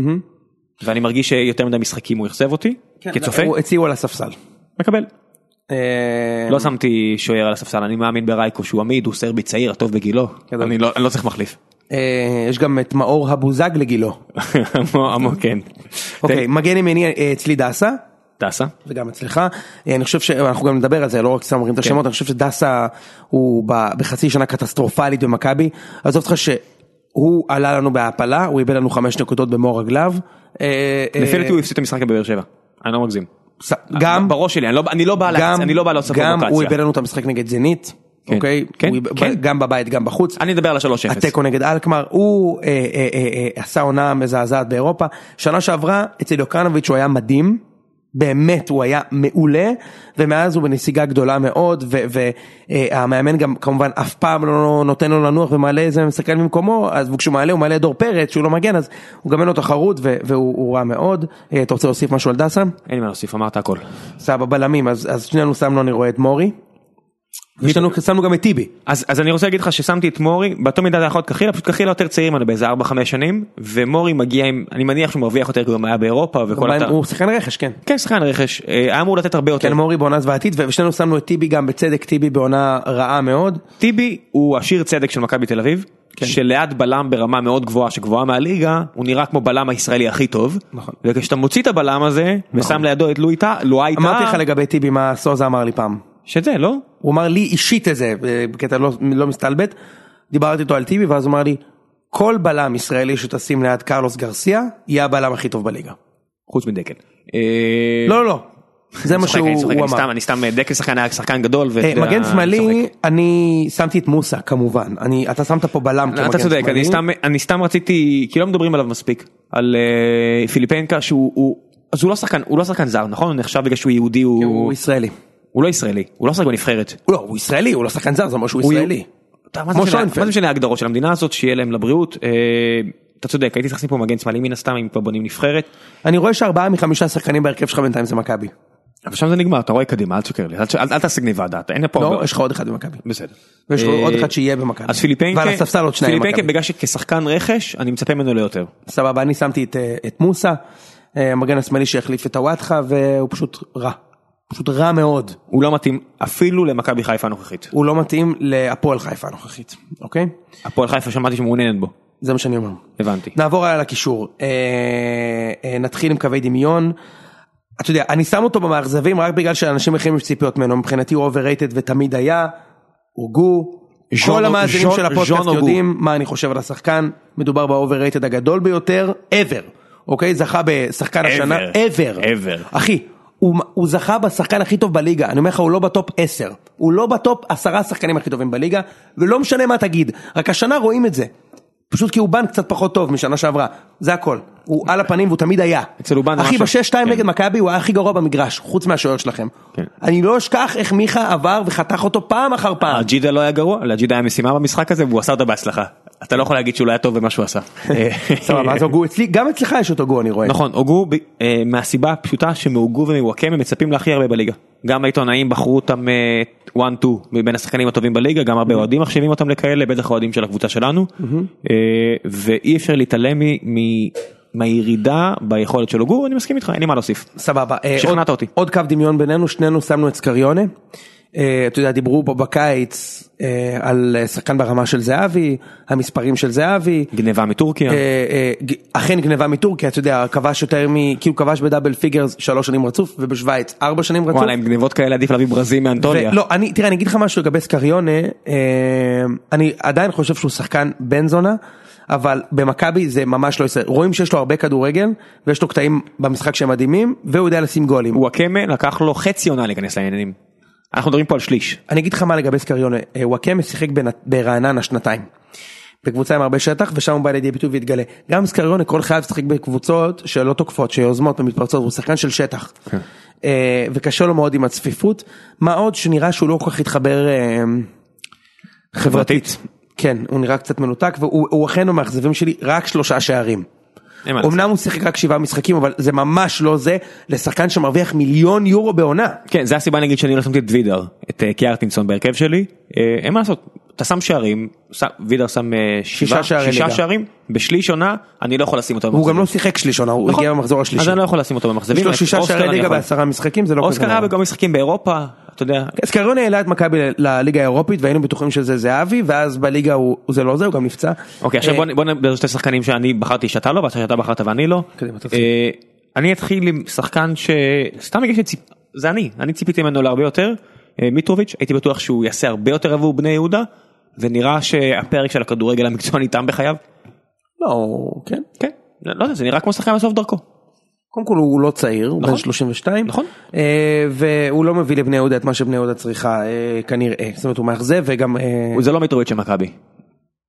Speaker 1: ואני מרגיש שיותר מדי משחקים הוא אכזב אותי, כצופה,
Speaker 2: כן, לא, הוא- הציעו על הספסל.
Speaker 1: מקבל.
Speaker 2: אה,
Speaker 1: לא שמתי שוער על הספסל, אני מאמין ברייקו שהוא עמיד, הוא סרבי צעיר, הטוב בגילו.
Speaker 2: גדול.
Speaker 1: אני לא אני לא צריך מחליף.
Speaker 2: אה, יש גם את מאור הבוזג לגילו.
Speaker 1: עמו- עמו, כן.
Speaker 2: אוקיי, מגן ימיני אה, אצלי דסה,
Speaker 1: טסה.
Speaker 2: וגם אצלך. אה, אני חושב שאנחנו גם נדבר על זה, לא רק סתם
Speaker 1: כן.
Speaker 2: אומרים את השמות, אני חושב שדסה הוא ב- בחצי שנה קטסטרופלית במכבי. עזוב אותך שהוא עלה לנו בהעפלה, הוא איבד לנו חמש נקודות במו רגליו. אה, אה,
Speaker 1: לפי דעתי הוא הפסיד את המשחק בבאר שבע. אני לא מגזים.
Speaker 2: ס- גם,
Speaker 1: בראש שלי, אני לא- אני לא בא
Speaker 2: גם,
Speaker 1: להצ- אני לא בא לעשות
Speaker 2: גם הוא איבד
Speaker 1: פרובוקציה.
Speaker 2: לנו את המשחק נגד זנית,
Speaker 1: כן.
Speaker 2: אוקיי?
Speaker 1: כן,
Speaker 2: הוא איבד-
Speaker 1: כן.
Speaker 2: גם בבית, גם בחוץ.
Speaker 1: אני אדבר על ה-3-0.
Speaker 2: התיקו נגד אלקמר, הוא אה, אה, אה, אה, עשה עונה מזעזעת באירופה, שנה שעברה אצל יוקרנוביץ' הוא היה מדהים, באמת הוא היה מעולה, ומאז הוא בנסיגה גדולה מאוד, והמאמן גם כמובן אף פעם לא נותן לו לנוח ומעלה איזה משחקן במקומו, אז כשהוא מעלה הוא מעלה את דור פרץ שהוא לא מגן, אז הוא גם אין לו תחרות ו- והוא הוא רע מאוד. אה, אתה רוצה להוסיף משהו על דסה?
Speaker 1: אין לי מה להוסיף, אמרת הכל.
Speaker 2: סבבה, בלמים, אז אז שנינו שמנו אני רואה את מורי, ויש לנו- שמנו גם את טיבי.
Speaker 1: אז, אז אני רוצה להגיד לך ששמתי את מורי, באותו מידה זה יכול להיות קחילה, פשוט קחילה יותר צעיר ממנו באיזה 4-5 שנים, ומורי מגיע עם, אני מניח שהוא מרוויח יותר כי הוא גם היה באירופה וכל התא.
Speaker 2: הוא שחקן רכש, כן.
Speaker 1: כן, שחקן רכש, אה, היה אמור לתת הרבה יותר.
Speaker 2: כן מורי בעונה זוועתית ו- ושנינו שמנו את טיבי גם בצדק טיבי בעונה רעה מאוד.
Speaker 1: טיבי הוא השיר צדק של מכבי תל אביב,
Speaker 2: כן.
Speaker 1: שליד בלם ברמה מאוד גבוהה, שגבוהה מהליגה, הוא נראה כמו בלם הישראלי הכי טוב.
Speaker 2: נכון.
Speaker 1: וכשאתה מוציא את הבלם הזה, ושם לידו את לואי טאה, לואי טאה,
Speaker 2: אמרתי לך לגבי טיבי מה סוזה אמר לי פעם.
Speaker 1: שזה, לא?
Speaker 2: הוא אמר לי אישית את זה אה, בקטע לא, לא מסתלבט. דיברתי איתו על טיבי ואז הוא אמר לי כל בלם ישראלי שתשים ליד קרלוס גרסיה יהיה הבלם הכי טוב בליגה.
Speaker 1: חוץ מדקל. אה,
Speaker 2: לא לא לא. זה מה
Speaker 1: צוחק, אני צוחק,
Speaker 2: שהוא
Speaker 1: אני
Speaker 2: הוא אמר.
Speaker 1: סתם, אני סתם, אה, דקל שחקן היה שחקן גדול. ואתה
Speaker 2: אה,
Speaker 1: יודע,
Speaker 2: מגן
Speaker 1: אני צוחק.
Speaker 2: שמאלי אני שמתי את מוסה כמובן אני אתה שמת פה בלם כמגן
Speaker 1: אתה צודק,
Speaker 2: שמאלי.
Speaker 1: אני סתם, אני סתם רציתי, כי לא מדברים עליו מספיק, על אה, פיליפנקה שהוא, הוא, אז הוא לא שחקן, הוא לא שחקן זר, נכון? הוא נחשב בגלל שהוא יהודי, כן, הוא,
Speaker 2: הוא ישראלי.
Speaker 1: הוא לא ישראלי, הוא לא שחק בנבחרת.
Speaker 2: לא הוא ישראלי הוא לא שחקן זר זה אומר שהוא
Speaker 1: הוא-
Speaker 2: ישראלי.
Speaker 1: אתה, מה זה
Speaker 2: כמו
Speaker 1: משנה-
Speaker 2: שוינפלד.
Speaker 1: מה זה משנה ההגדרות של המדינה הזאת, שיהיה להם לבריאות, אה, אתה צודק, הייתי צריך לשים פה מגן שמאלי מן הסתם, אם כבר בונים נבחרת,
Speaker 2: אני רואה שארבעה מחמישה שחקנים בהרכב שלך בינתיים זה מכבי.
Speaker 1: אבל שם זה נגמר, אתה רואה קדימה, אל תשקר לי, אל, אל, אל תשיג לי ועדה, אתה- אין לי פה,
Speaker 2: לא, יש לך עוד אחד במכבי.
Speaker 1: בסדר.
Speaker 2: ויש לך
Speaker 1: אה,
Speaker 2: עוד אחד שיהיה במכבי.
Speaker 1: אז פיליפנקה,
Speaker 2: ועל הספסל עוד שניים
Speaker 1: פיליפנקה
Speaker 2: במכבי.
Speaker 1: בגלל שכשחקן רכש, אני מצפה ממנו ליותר.
Speaker 2: סבבה, אני שמתי את, אה, את מוסה, אה, המגן השמאלי שהחליף את הוואטחה, והוא פשוט רע. פשוט רע מאוד.
Speaker 1: הוא לא מתאים אפילו למכבי חיפה הנוכחית.
Speaker 2: הוא לא מתאים להפועל חיפה הנוכחית, אוקיי?
Speaker 1: הפועל חיפה שמעתי שמעוניינת בו,
Speaker 2: זה מה שאני אומר.
Speaker 1: הבנתי.
Speaker 2: נעבור על הקישור. אה, אה, נתחיל עם קווי דמיון. אתה יודע, אני שם אותו במאכזבים רק בגלל שאנשים אחרים יש ציפיות ממנו. מבחינתי הוא overrated ותמיד היה. הורגו.
Speaker 1: ז'ון-
Speaker 2: כל המאזינים
Speaker 1: ז'ון-
Speaker 2: של
Speaker 1: ז'ון
Speaker 2: הפודקאסט
Speaker 1: הוגו.
Speaker 2: יודעים מה אני חושב על השחקן. מדובר ב-overrated הגדול ביותר ever. אוקיי? זכה בשחקן השנה ever.
Speaker 1: ever.
Speaker 2: אחי. הוא, הוא זכה בשחקן הכי טוב בליגה, אני אומר לך הוא לא בטופ 10, הוא לא בטופ 10 השחקנים הכי טובים בליגה, ולא משנה מה תגיד, רק השנה רואים את זה. פשוט כי אובן קצת פחות טוב משנה שעברה, זה הכל. הוא על הפנים והוא תמיד היה.
Speaker 1: אצל אובן זה
Speaker 2: אחי
Speaker 1: משהו.
Speaker 2: בשש שתיים
Speaker 1: כן.
Speaker 2: נגד מכבי הוא היה הכי גרוע במגרש, חוץ מהשוער שלכם.
Speaker 1: כן.
Speaker 2: אני לא אשכח איך מיכה עבר וחתך אותו פעם אחר פעם.
Speaker 1: הג'ידה לא היה גרוע, לג'ידה היה משימה במשחק הזה והוא עשה אותה בהצלחה. אתה לא יכול להגיד שהוא לא היה טוב במה שהוא עשה.
Speaker 2: סבבה, אז הוגו אצלי, גם אצלך יש אותו גו אני רואה.
Speaker 1: נכון, הוגו ב- אה, מהסיבה הפשוטה שמהוגו ומוואקמה מצפים להכי הרבה בליגה. גם העיתונאים בחרו אותם 1-2 מבין השחקנים הטובים בליגה, גם הרבה אוהדים מחשיבים אותם לכאלה, בטח אוהדים של הקבוצה שלנו. אה, ואי אפשר להתעלם מ- מ- מהירידה ביכולת של הוגו, אני מסכים איתך, אין לי מה להוסיף.
Speaker 2: סבבה. אה,
Speaker 1: שכנעת
Speaker 2: עוד-
Speaker 1: אותי.
Speaker 2: עוד קו דמיון בינינו, שנינו שמנו את סקריונה. אה, אתה יודע, דיברו פה בקיץ אה, על אה, שחקן ברמה של זהבי, המספרים של זהבי.
Speaker 1: גניבה מטורקיה.
Speaker 2: אה, אה, ג- אכן גניבה מטורקיה, אתה יודע, כבש יותר מ... כאילו כבש בדאבל פיגרס שלוש שנים רצוף, ובשוויץ ארבע שנים רצוף.
Speaker 1: וואלה, עם גניבות כאלה עדיף להביא ברזים מאנטוליה.
Speaker 2: לא, אני, תראה, אני אגיד לך משהו לגבי סקריונה, אה, אני עדיין חושב שהוא שחקן בן זונה, אבל במכבי זה ממש לא ישראל. רואים שיש לו הרבה כדורגל, ויש לו קטעים במשחק שהם מדהימים, והוא יודע לשים גולים.
Speaker 1: וואקמה לקח לו חצי עונה להיכנס לעניינים. אנחנו מדברים פה על שליש.
Speaker 2: אני אגיד לך מה לגבי סקריונה, אה, וואקמה שיחק בנ- ברעננה שנתיים. בקבוצה עם הרבה שטח ושם הוא בא לידי ביטוי והתגלה. גם סקריונה כל חייו שיחק בקבוצות שלא תוקפות, שיוזמות ומתפרצות, הוא שחקן של שטח.
Speaker 1: כן.
Speaker 2: אה, וקשה לו מאוד עם הצפיפות. מה עוד שנראה שהוא לא כל כך התחבר אה, חברתית. כן, הוא נראה קצת מנותק והוא הוא אכן המאכזבים שלי רק שלושה שערים.
Speaker 1: אין מה לעשות.
Speaker 2: אמנם הוא שיחק רק שבעה משחקים, אבל זה ממש לא זה לשחקן שמרוויח מיליון יורו בעונה.
Speaker 1: כן, זה הסיבה נגיד שאני לא שמתי את וידר, את אה, קיארטינסון בהרכב שלי, אה, אין מה לעשות, אתה שם שערים, ש- וידר שם אה, שבעה-
Speaker 2: שערי
Speaker 1: שישה
Speaker 2: ליגה.
Speaker 1: שערים, בשליש עונה, אני לא יכול לשים אותו
Speaker 2: הוא
Speaker 1: במחזורים.
Speaker 2: גם לא שיחק שליש עונה, הוא
Speaker 1: נכון.
Speaker 2: הגיע במחזור
Speaker 1: אז
Speaker 2: השלישי.
Speaker 1: אני לא יכול לשים אותו במחזורים.
Speaker 2: יש לו
Speaker 1: את
Speaker 2: שישה
Speaker 1: אוסקר
Speaker 2: שערי
Speaker 1: אני
Speaker 2: ליגה
Speaker 1: יכול.
Speaker 2: בעשרה משחקים, זה לא כזה
Speaker 1: אוסקר
Speaker 2: נורא.
Speaker 1: היה גם משחקים באירופה, אתה יודע,
Speaker 2: סקריונה העלה את מכבי לליגה האירופית והיינו בטוחים שזה זהבי ואז בליגה הוא הוא- זה לא זה הוא גם נפצע.
Speaker 1: אוקיי עכשיו
Speaker 2: אה,
Speaker 1: בוא נ- בוא נדבר על שתי שחקנים שאני בחרתי שאתה לא ואתה שאתה בחרת ואני לא.
Speaker 2: קדימה, תתחיל.
Speaker 1: אה, אני אתחיל עם שחקן שסתם בגלל שציפ... זה אני אני ציפיתי ממנו להרבה יותר אה, מיטרוביץ' הייתי בטוח שהוא יעשה הרבה יותר עבור בני יהודה ונראה שהפרק של הכדורגל המקצועני תם בחייו.
Speaker 2: לא הוא- כן.
Speaker 1: כן. לא לא יודע זה נראה כמו שחקן בסוף דרכו.
Speaker 2: קודם כל הוא לא צעיר, הוא
Speaker 1: נכון.
Speaker 2: בן 32,
Speaker 1: נכון.
Speaker 2: אה, והוא לא מביא לבני יהודה את מה שבני יהודה צריכה אה, כנראה, זאת אומרת הוא מאכזב וגם, אה,
Speaker 1: זה לא מיטרוביץ' של מכבי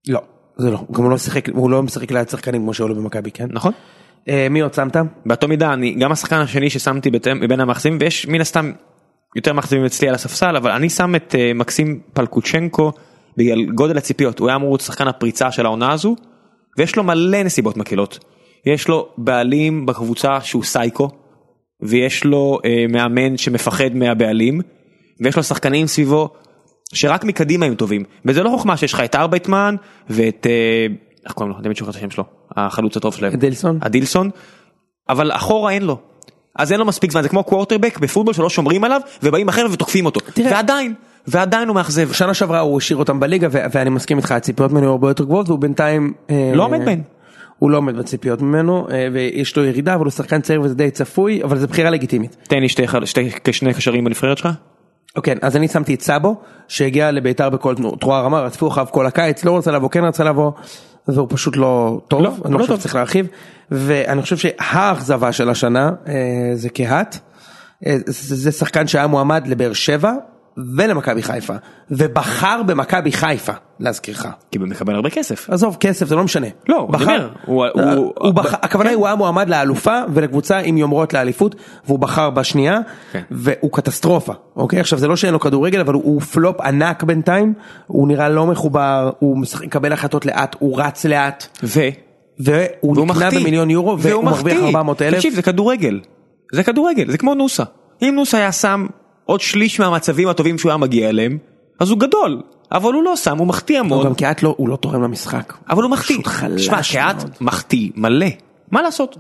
Speaker 2: לא, זה לא, גם הוא לא שיחק, הוא לא משחק ליד שחקנים כמו שעולה במכבי, כן?
Speaker 1: נכון.
Speaker 2: אה, מי עוד שמת?
Speaker 1: באותה מידה אני גם השחקן השני ששמתי בתם- בין המחזימים ויש מן הסתם יותר מחזימים אצלי על הספסל אבל אני שם את אה, מקסים פלקוצ'נקו בגלל גודל הציפיות הוא היה אמור להיות שחקן הפריצה של העונה הזו ויש לו מלא נסיבות מקלות יש לו בעלים בקבוצה שהוא סייקו ויש לו אה, מאמן שמפחד מהבעלים ויש לו שחקנים סביבו שרק מקדימה הם טובים וזה לא חוכמה שיש לך את ארבייטמן ואת אה, איך קוראים לו? אני באמת שוכח את השם שלו החלוץ הטוב שלהם.
Speaker 2: אדלסון?
Speaker 1: אדילסון, אבל אחורה אין לו. אז אין לו מספיק זמן, זה כמו קוורטרבק בפוטבול שלא שומרים עליו, ובאים אחריו ותוקפים אותו.
Speaker 2: תראה-
Speaker 1: ועדיין, ועדיין הוא מאכזב.
Speaker 2: שנה שעברה הוא השאיר אותם בליגה ו- ואני מסכים איתך הציפיות ממנו הרבה יותר גבוהות והוא בינתיים אה,
Speaker 1: לא עומד בהן.
Speaker 2: הוא לא עומד בציפיות ממנו אה, ויש לו ירידה אבל הוא שחקן צעיר וזה די צפוי אבל זו בחירה לגיטימית.
Speaker 1: תן לי שתי, ח- שתי שני קשרים בנבחרת שלך.
Speaker 2: אוקיי, אז אני שמתי את סאבו, שהגיע לביתר בכל תנוע- תרועה רמה, רדפו אחריו כל הקיץ, לא רצה לבוא, כן רצה לבוא, והוא פשוט לא טוב,
Speaker 1: לא,
Speaker 2: אני
Speaker 1: לא
Speaker 2: לא חושב
Speaker 1: טוב.
Speaker 2: שצריך להרחיב, ואני חושב שהאכזבה של השנה אה, זה קהת, אה, זה זה שחקן שהיה מועמד לבאר שבע ולמכבי חיפה, ובחר במכבי חיפה, להזכירך.
Speaker 1: כי הוא מקבל הרבה כסף.
Speaker 2: עזוב, כסף זה לא משנה.
Speaker 1: לא, אני אומר, הוא- הוא-
Speaker 2: הוא,
Speaker 1: כן.
Speaker 2: הוא בחר,
Speaker 1: ב-
Speaker 2: הכוונה היא הוא היה מועמד לאלופה ולקבוצה עם יומרות לאליפות, והוא בחר בשנייה,
Speaker 1: כן.
Speaker 2: והוא קטסטרופה, אוקיי? עכשיו זה לא שאין לו כדורגל, אבל הוא, הוא פלופ ענק בינתיים, הוא נראה לא מחובר, הוא משחק- מקבל החלטות לאט, הוא רץ לאט,
Speaker 1: ו...
Speaker 2: והוא
Speaker 1: והוא
Speaker 2: נקנה
Speaker 1: מחטיא.
Speaker 2: במיליון יורו, והוא מרוויח
Speaker 1: מחטיא.
Speaker 2: 400 אלף.
Speaker 1: תקשיב, זה כדורגל. זה כדורגל, זה כמו נוסה. אם נוסה היה שם עוד שליש מהמצבים הטובים שהוא היה מגיע אליהם, אז הוא גדול. אבל הוא לא שם, הוא מחטיא
Speaker 2: הוא
Speaker 1: המון.
Speaker 2: גם כעת לא, הוא לא תורם למשחק.
Speaker 1: אבל הוא מחטיא.
Speaker 2: פשוט חלש
Speaker 1: שמע,
Speaker 2: מאוד.
Speaker 1: קהת מחטיא מלא. מה לעשות?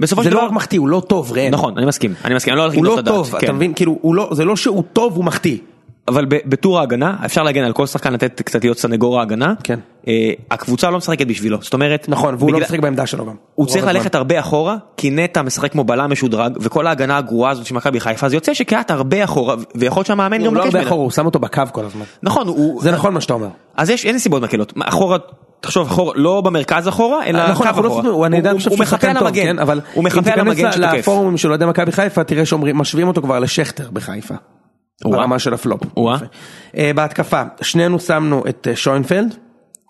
Speaker 1: בסופו
Speaker 2: זה
Speaker 1: של
Speaker 2: לא
Speaker 1: דבר...
Speaker 2: רק מחטיא, הוא לא טוב, ראם.
Speaker 1: נכון, אני מסכים. אני מסכים, אני לא הולך
Speaker 2: הוא
Speaker 1: לגנוב
Speaker 2: לא
Speaker 1: את הדעת.
Speaker 2: טוב,
Speaker 1: כן.
Speaker 2: אתה מבין? כאילו, הוא לא, זה לא שהוא טוב, הוא מחטיא.
Speaker 1: אבל ב- בטור ההגנה אפשר להגן על כל שחקן לתת קצת להיות סנגור ההגנה.
Speaker 2: כן.
Speaker 1: אה, הקבוצה לא משחקת בשבילו, זאת אומרת...
Speaker 2: נכון, והוא לא
Speaker 1: בגלל-
Speaker 2: משחק בעמדה שלו גם.
Speaker 1: הוא
Speaker 2: רוב
Speaker 1: צריך
Speaker 2: הזמן.
Speaker 1: ללכת הרבה אחורה, כי נטע משחק כמו בלם משודרג, וכל ההגנה הגרועה הזאת של מכבי חיפה, אז יוצא שקהת הרבה אחורה, ו- ויכול להיות שהמאמן גם
Speaker 2: הוא לא
Speaker 1: מבקש
Speaker 2: הרבה
Speaker 1: ממנו.
Speaker 2: אחורה, הוא שם אותו בקו כל הזמן.
Speaker 1: נכון, הוא...
Speaker 2: זה נכון מה שאתה אומר.
Speaker 1: אז יש איזה סיבות מקלות. מה, אחורה, תחשוב, אחורה, לא במרכז אחורה, אלא
Speaker 2: נכון,
Speaker 1: קו
Speaker 2: אנחנו לא
Speaker 1: אחורה.
Speaker 2: חושבים- הוא הנהדר, אני חושב
Speaker 1: הוא
Speaker 2: שהוא
Speaker 1: מחפה
Speaker 2: שחקן
Speaker 1: על
Speaker 2: טוב,
Speaker 1: המגן,
Speaker 2: כן, אבל
Speaker 1: הוא מחפה על
Speaker 2: אם
Speaker 1: המגן
Speaker 2: תיכנס
Speaker 1: שתוקף.
Speaker 2: לפורומים של אוהדי מכבי חיפה, תראה שאומרים, משווים אותו כבר לשכטר בחיפה.
Speaker 1: או-אה.
Speaker 2: ברמה של הפלופ.
Speaker 1: או-אה.
Speaker 2: יפה. אה, בהתקפה, שנינו שמנו את אה, שוינפלד,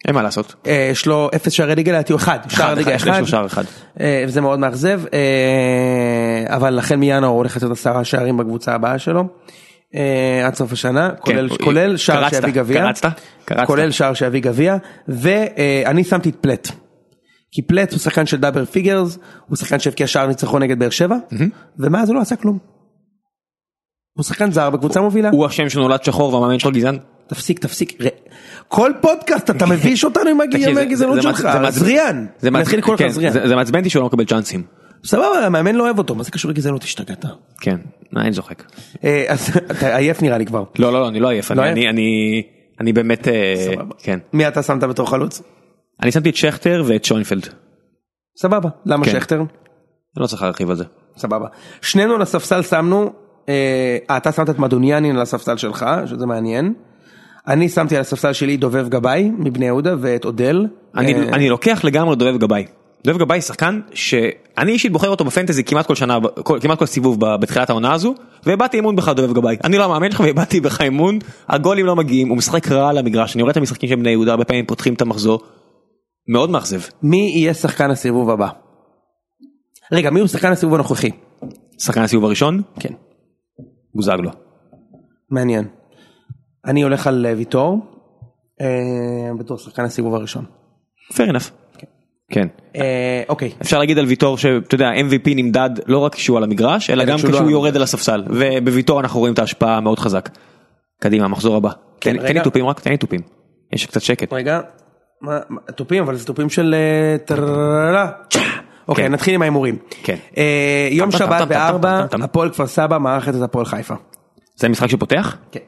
Speaker 1: אין מה לעשות.
Speaker 2: אה, יש לו אפס שערי ליגה, לדעתי הוא אחד, שער
Speaker 1: אחד,
Speaker 2: ליגה
Speaker 1: אחד, יש לו
Speaker 2: אחד.
Speaker 1: שער אחד.
Speaker 2: אה, וזה מאוד מאכזב, אה, אבל החל מינואר הוא הולך לתת עשרה שערים בקבוצה הבאה שלו. אה, עד סוף השנה, כולל-
Speaker 1: כן, הוא-
Speaker 2: כולל שער
Speaker 1: קרצת,
Speaker 2: שיביא גביע.
Speaker 1: קרצת, קרצת.
Speaker 2: כולל שער שיביא גביע, ואני שמתי את פלט. כי פלט הוא שחקן של דאבר פיגרס, הוא שחקן שהבקיע שער ניצחון נגד באר שבע, ומאז הוא לא עשה כלום. הוא שחקן זר בקבוצה מובילה.
Speaker 1: הוא השם שנולד שחור והמאמן שלו גזען.
Speaker 2: תפסיק, תפסיק. ר- כל פודקאסט אתה מביש אותנו עם הג- עם
Speaker 1: תקשיב, זה-
Speaker 2: הגזענות
Speaker 1: זה מעצ-
Speaker 2: שלך.
Speaker 1: זה מעצ-
Speaker 2: זריאן.
Speaker 1: זה מעצ-
Speaker 2: נתחיל לקרוא לך
Speaker 1: כן,
Speaker 2: זריאן.
Speaker 1: זה- זה מעצבן אותי שהוא לא מקבל צ'אנסים.
Speaker 2: סבבה, המאמן לא אוהב אותו, מה זה קשור לגזענות? השתגעת.
Speaker 1: כן, אה, אני זוחק.
Speaker 2: אה, אז אתה עייף נראה לי כבר.
Speaker 1: לא, לא, לא, אני לא עייף,
Speaker 2: לא
Speaker 1: אני- אני-
Speaker 2: עייף?
Speaker 1: אני אני באמת, אה,
Speaker 2: סבבה.
Speaker 1: כן.
Speaker 2: מי אתה שמת בתור חלוץ?
Speaker 1: אני שמתי את שכטר ואת שוינפלד.
Speaker 2: סבבה. למה
Speaker 1: כן.
Speaker 2: שכטר?
Speaker 1: אני לא צריך להרחיב על זה.
Speaker 2: סבבה. שנינו על הספסל שמנו, אה, אתה שמת את מדוניאנין על הספסל שלך, שזה מעניין. אני שמתי על הספסל שלי דובב גבאי מבני יהודה ואת אודל.
Speaker 1: אני-
Speaker 2: אה,
Speaker 1: אני לוקח לגמרי את דובב גבאי. דובב גבאי שחקן שאני אישית בוחר אותו בפנטזי כמעט כל שנה, כל- כמעט כל סיבוב ב- בתחילת העונה הזו, והבעתי אמון בך דובב גבאי. אני לא המאמן שלך והבעתי בך אמון, הגולים לא מגיעים, הוא משחק רע על המגרש, אני רואה את המשחקים של בני יהודה, הרבה פעמים פותחים את המחזור. מאוד מאכזב.
Speaker 2: מי יהיה שחקן הסיבוב הבא? רגע, מי הוא שחקן הסיבוב הנוכחי?
Speaker 1: שחקן הסיבוב הראשון,
Speaker 2: כן.
Speaker 1: בוזגלו.
Speaker 2: מעניין. אני הולך על אה, ויטור, אה, בתור שחקן הסיבוב הראשון.
Speaker 1: fair enough. כן.
Speaker 2: אה, אוקיי.
Speaker 1: אפשר להגיד על ויטור שאתה יודע MVP נמדד לא רק כשהוא על המגרש אלא גם
Speaker 2: כשהוא לא
Speaker 1: כשהוא
Speaker 2: על
Speaker 1: יורד על הספסל ובוויטור אנחנו רואים את ההשפעה המאוד חזק. קדימה מחזור הבא. תן תן לי
Speaker 2: כן, רגע.
Speaker 1: תופים רק תן לי תופים. יש קצת שקט.
Speaker 2: רגע, מה, מה- תופים, אבל זה תופים של אה, טרררה. אוקיי,
Speaker 1: כן.
Speaker 2: נתחיל עם ההימורים.
Speaker 1: כן.
Speaker 2: אה, יום
Speaker 1: טם, טם, טם,
Speaker 2: שבת
Speaker 1: טם,
Speaker 2: בארבע,
Speaker 1: טם, טם, טם.
Speaker 2: הפועל כפר סבא מארחת את הפועל חיפה.
Speaker 1: זה המשחק שפותח?
Speaker 2: כן.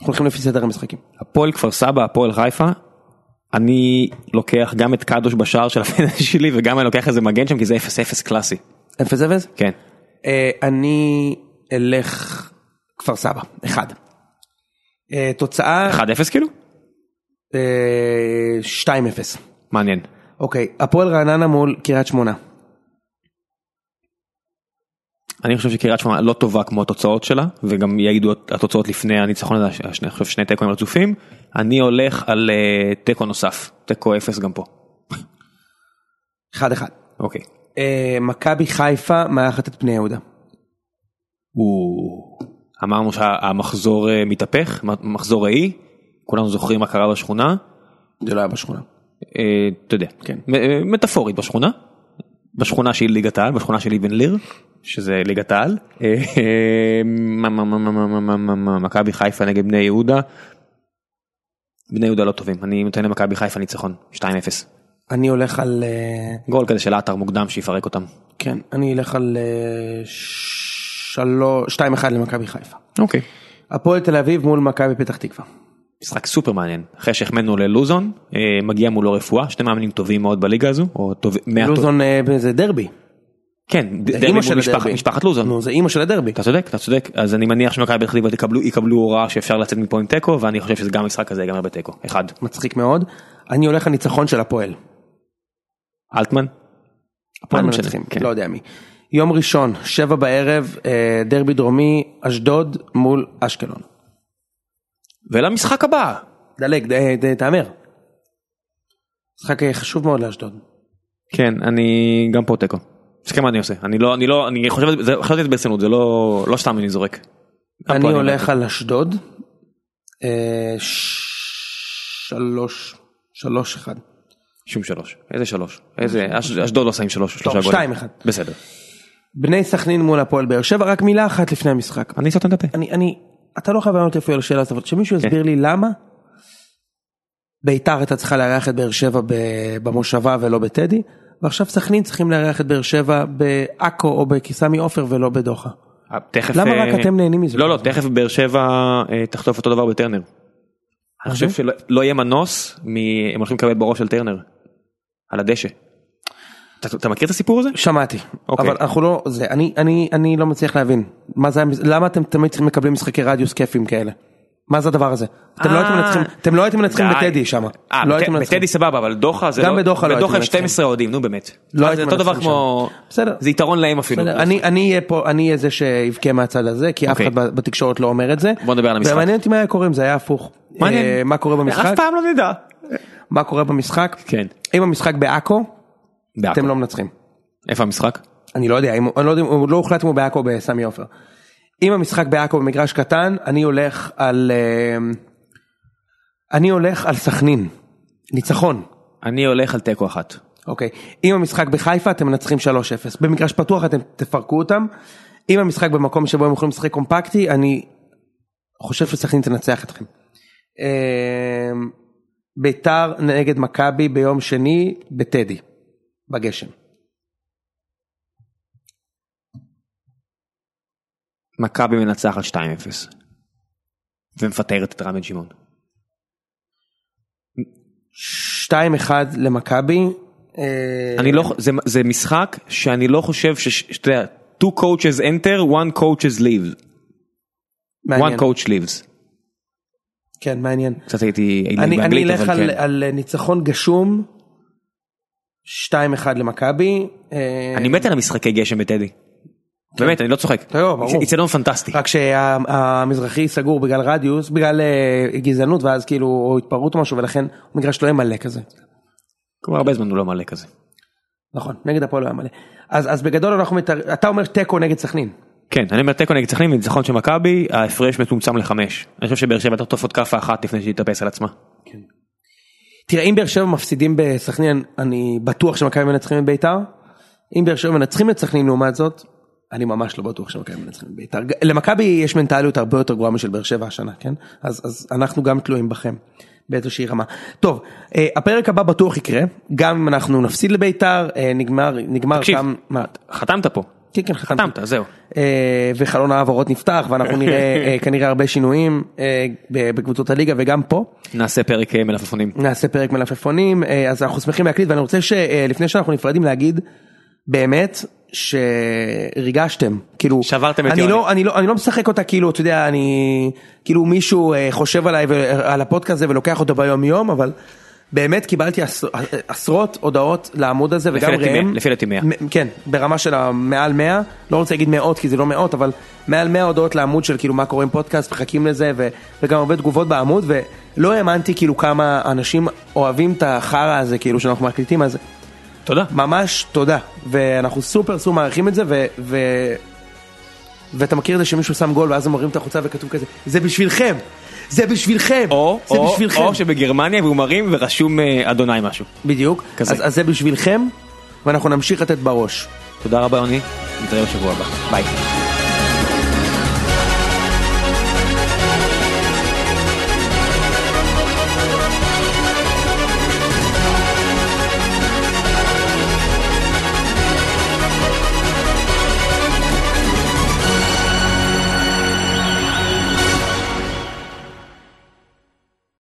Speaker 2: אנחנו הולכים לפי סדר המשחקים.
Speaker 1: הפועל כפר סבא הפועל חיפה. אני לוקח גם את קדוש בשער של הפנדל שלי וגם אני לוקח איזה מגן שם כי זה 0-0 קלאסי.
Speaker 2: אפס אפס?
Speaker 1: כן.
Speaker 2: אה, אני אלך כפר סבא, אחד. אה, תוצאה
Speaker 1: 1-0 כאילו?
Speaker 2: אה, 2-0.
Speaker 1: מעניין.
Speaker 2: אוקיי, הפועל רעננה מול קריית שמונה.
Speaker 1: אני חושב שקריית שמונה לא טובה כמו התוצאות שלה וגם יעידו התוצאות לפני הניצחון הזה, השני- אני חושב שני תיקואים רצופים. אני הולך על אה, תיקו נוסף, תיקו 0 גם פה.
Speaker 2: 1-1.
Speaker 1: אוקיי.
Speaker 2: אה, מכבי חיפה מארחת את בני יהודה.
Speaker 1: אמרנו שהמחזור אה, מתהפך, מ- מחזור ראי, כולנו זוכרים מה קרה בשכונה,
Speaker 2: זה לא היה בשכונה.
Speaker 1: אה, אתה יודע,
Speaker 2: כן.
Speaker 1: מ- אה, מטאפורית בשכונה, בשכונה שהיא ליגת העל, בשכונה של אבן ליר, שזה ליגת העל, אה, אה, מה- מה- מה- מה- מה- מה- מה- מה- מה- מכבי חיפה נגד בני יהודה, בני יהודה לא טובים, אני נותן למכבי חיפה ניצחון, 2-0,
Speaker 2: אני הולך על... אה,
Speaker 1: גול כזה של עטר מוקדם שיפרק אותם.
Speaker 2: כן, אני אלך על אה, שלוש... 2-1 למכבי חיפה.
Speaker 1: אוקיי.
Speaker 2: הפועל תל אביב מול מכבי פתח תקווה.
Speaker 1: משחק סופר מעניין אחרי שהחמדנו ללוזון אה, מגיע מולו רפואה שני מאמנים טובים מאוד בליגה הזו או טוב מהטוב
Speaker 2: לוזון אה, זה דרבי.
Speaker 1: כן ד-
Speaker 2: זה
Speaker 1: דרבי
Speaker 2: אימא
Speaker 1: מול
Speaker 2: של
Speaker 1: משפחת-
Speaker 2: הדרבי.
Speaker 1: משפחת לוזון
Speaker 2: נו, זה אימא של הדרבי.
Speaker 1: אתה צודק אתה צודק אז אני מניח שמכבי פתח תקווה תקבלו יקבלו הוראה שאפשר לצאת מפה עם תיקו ואני חושב שזה גם משחק כזה ייגמר בתיקו אחד
Speaker 2: מצחיק מאוד. אני הולך על ניצחון של הפועל.
Speaker 1: אלטמן.
Speaker 2: הפועל
Speaker 1: לא משנה,
Speaker 2: מנצחים,
Speaker 1: כן.
Speaker 2: לא יודע מי. יום ראשון, שבע בערב, אה, דרבי דרומי, אשדוד מול אשקלון.
Speaker 1: ולמשחק הבא
Speaker 2: דלג, ד- ד- תהמר. משחק אה, חשוב מאוד לאשדוד.
Speaker 1: כן אני גם פה תיקו. תזכר מה אני עושה אני לא אני לא אני חושב זה חשבתי את זה ברצינות זה לא לא סתם אני זורק. גם פה
Speaker 2: אני הולך
Speaker 1: אומר.
Speaker 2: על אשדוד. אה, ש- שלוש, שלוש אחד.
Speaker 1: שום שלוש איזה שלוש איזה אש- אשדוד לא שמים שלוש שלושה גולים.
Speaker 2: שתיים אחד.
Speaker 1: בסדר.
Speaker 2: בני סכנין מול הפועל באר שבע, רק מילה אחת לפני המשחק.
Speaker 1: אני סותם את הפה.
Speaker 2: אני, אני, אתה לא חייב לענות יפה על השאלה הזאת, אבל שמישהו
Speaker 1: כן.
Speaker 2: יסביר לי למה ביתר הייתה צריכה לארח את באר שבע ב- במושבה ולא בטדי, ועכשיו סכנין צריכים לארח את באר שבע בעכו או בסמי עופר ולא בדוחה.
Speaker 1: אה, תכף
Speaker 2: למה
Speaker 1: אה,
Speaker 2: רק אתם נהנים מזה?
Speaker 1: לא לא תכף באר שבע אה, תחטוף אותו דבר בטרנר.
Speaker 2: אה,
Speaker 1: אני חושב שלא לא יהיה מנוס מ... הם הולכים לקבל בראש של טרנר. על הדשא. אתה, אתה מכיר את הסיפור הזה?
Speaker 2: שמעתי,
Speaker 1: אוקיי.
Speaker 2: אבל אנחנו לא, זה, אני, אני, אני לא מצליח להבין, מה זה, המס- למה אתם תמיד צריכים מקבלים משחקי רדיוס כיפים כאלה? מה זה הדבר הזה? אתם לא
Speaker 1: אה.
Speaker 2: הייתם מנצחים, אתם לא הייתם מנצחים
Speaker 1: די.
Speaker 2: בטדי שם.
Speaker 1: אה,
Speaker 2: לא
Speaker 1: בת-
Speaker 2: הייתם מנצחים.
Speaker 1: בטדי סבבה אבל דוחה זה
Speaker 2: גם
Speaker 1: לא,
Speaker 2: בדוחה לא
Speaker 1: בדוחה
Speaker 2: הייתם
Speaker 1: יש 12 אוהדים נו באמת.
Speaker 2: לא
Speaker 1: זה
Speaker 2: הייתם
Speaker 1: אותו דבר
Speaker 2: מנצחים
Speaker 1: כמו
Speaker 2: שם. בסדר.
Speaker 1: זה יתרון להם אפילו.
Speaker 2: בסדר, אני אני אהיה פה אני אהיה זה שיבכה מהצד הזה כי אף
Speaker 1: אוקיי.
Speaker 2: אחד ב- בתקשורת לא אומר את זה.
Speaker 1: בוא נדבר על המשחק.
Speaker 2: ומעניין אותי מה היה קורה אם זה היה הפוך.
Speaker 1: מעניין.
Speaker 2: אה, מה קורה במשחק?
Speaker 1: אף פעם לא נדע.
Speaker 2: מה קורה במשחק?
Speaker 1: כן.
Speaker 2: אם המשחק בעכו
Speaker 1: בעכו.
Speaker 2: אתם לא מנצחים.
Speaker 1: איפה המשחק?
Speaker 2: אני לא יודע אם אני לא יודע אם- לא הוחלט אם הוא בעכו או בסמי עופר. אם המשחק בעכו במגרש קטן אני הולך על אה, אני הולך על סכנין ניצחון.
Speaker 1: אני הולך על תיקו אחת.
Speaker 2: אוקיי, אם המשחק בחיפה אתם מנצחים 3-0, במגרש פתוח אתם תפרקו אותם, אם המשחק במקום שבו הם יכולים לשחק קומפקטי, אני חושב שסכנין תנצח אתכם. אמ, ביתר נגד מכבי ביום שני בטדי, בגשם.
Speaker 1: מכבי מנצחת 2-0 ומפטרת את רמי שמעון.
Speaker 2: 2-1 למכבי. אה,
Speaker 1: אני לא ח- זה זה משחק שאני לא חושב ש- ש- שאתה יודע two coaches enter one coaches leaves
Speaker 2: מעניין.
Speaker 1: one coach leaves.
Speaker 2: כן, מעניין.
Speaker 1: קצת הייתי הייתי
Speaker 2: אני, אני
Speaker 1: באנגלית
Speaker 2: אלך
Speaker 1: אבל
Speaker 2: על,
Speaker 1: כן.
Speaker 2: על ניצחון גשום, 2-1 למכבי. אה,
Speaker 1: אני מת על המשחקי גשם בטדי. באמת אני לא צוחק.
Speaker 2: כן. לא, ברור.
Speaker 1: זה אצטדיון פנטסטי.
Speaker 2: רק שהמזרחי סגור בגלל רדיוס, בגלל אה, גזענות ואז כאילו או התפרעות או משהו ולכן המגרש לא יהיה מלא כזה.
Speaker 1: כבר הרבה זמן הוא לא מלא כזה.
Speaker 2: נכון, נגד הפועל לא היה מלא. אז, אז בגדול אנחנו, מתאר... אתה אומר תיקו נגד סכנין.
Speaker 1: כן אני אומר תיקו נגד סכנין וניצחון של מכבי ההפרש מצומצם לחמש. אני חושב שבאר שבע תחטוף עוד כאפה אחת לפני שהיא תתאפס על עצמה.
Speaker 2: תראה, אם באר שבע מפסידים בסכנין, אני בטוח שמכבי מנצחים את ביתר. אם באר שבע מנצחים את סכנין לעומת זאת, אני ממש לא בטוח שמכבי מנצחים את ביתר. למכבי יש מנטליות הרבה יותר גרועה משל באר שבע השנה, כן? אז, אז אנחנו גם תלויים בכם באיזושהי רמה. טוב, אה, הפרק הבא בטוח יקרה, גם אם אנחנו נפסיד לביתר, אה, נגמר, נגמר
Speaker 1: תקשיב.
Speaker 2: גם... מה?
Speaker 1: חתמת פה.
Speaker 2: כן, כן, חתמתי.
Speaker 1: חתמת, זהו.
Speaker 2: אה, וחלון ההעברות נפתח ואנחנו נראה אה, כנראה הרבה שינויים אה, ב- בקבוצות הליגה וגם פה
Speaker 1: נעשה פרק אה, מלפפונים.
Speaker 2: נעשה פרק מלפפונים אה, אז אנחנו שמחים להקליט ואני רוצה שלפני שאנחנו נפרדים להגיד באמת שריגשתם כאילו
Speaker 1: שברתם את
Speaker 2: אני
Speaker 1: יוני.
Speaker 2: לא אני לא אני לא משחק אותה כאילו אתה יודע אני כאילו מישהו אה, חושב עליי ועל הפודקאסט הזה ולוקח אותו ביום יום אבל. באמת קיבלתי עשר- עשרות הודעות לעמוד הזה
Speaker 1: לפי
Speaker 2: וגם
Speaker 1: דעתי
Speaker 2: ראם,
Speaker 1: מאה, לפי דעתי מאה.
Speaker 2: מ- כן, ברמה של המעל 100, לא רוצה להגיד מאות כי זה לא מאות, אבל מעל 100 הודעות לעמוד של כאילו מה קורה עם פודקאסט, מחכים לזה, ו- וגם הרבה תגובות בעמוד, ולא האמנתי כאילו כמה אנשים אוהבים את החרא הזה כאילו שאנחנו מקליטים, אז
Speaker 1: תודה.
Speaker 2: ממש תודה, ואנחנו סופר סופר מעריכים את זה, ו... ו- ואתה מכיר את זה שמישהו שם גול ואז הם מראים את החוצה וכתוב כזה, זה בשבילכם, זה בשבילכם,
Speaker 1: או,
Speaker 2: זה
Speaker 1: או,
Speaker 2: בשבילכם.
Speaker 1: או שבגרמניה והוא מרים ורשום אה, אדוני משהו.
Speaker 2: בדיוק,
Speaker 1: כזה.
Speaker 2: אז, אז זה בשבילכם, ואנחנו נמשיך לתת בראש.
Speaker 1: תודה רבה יוני, נתראה בשבוע הבא. ביי.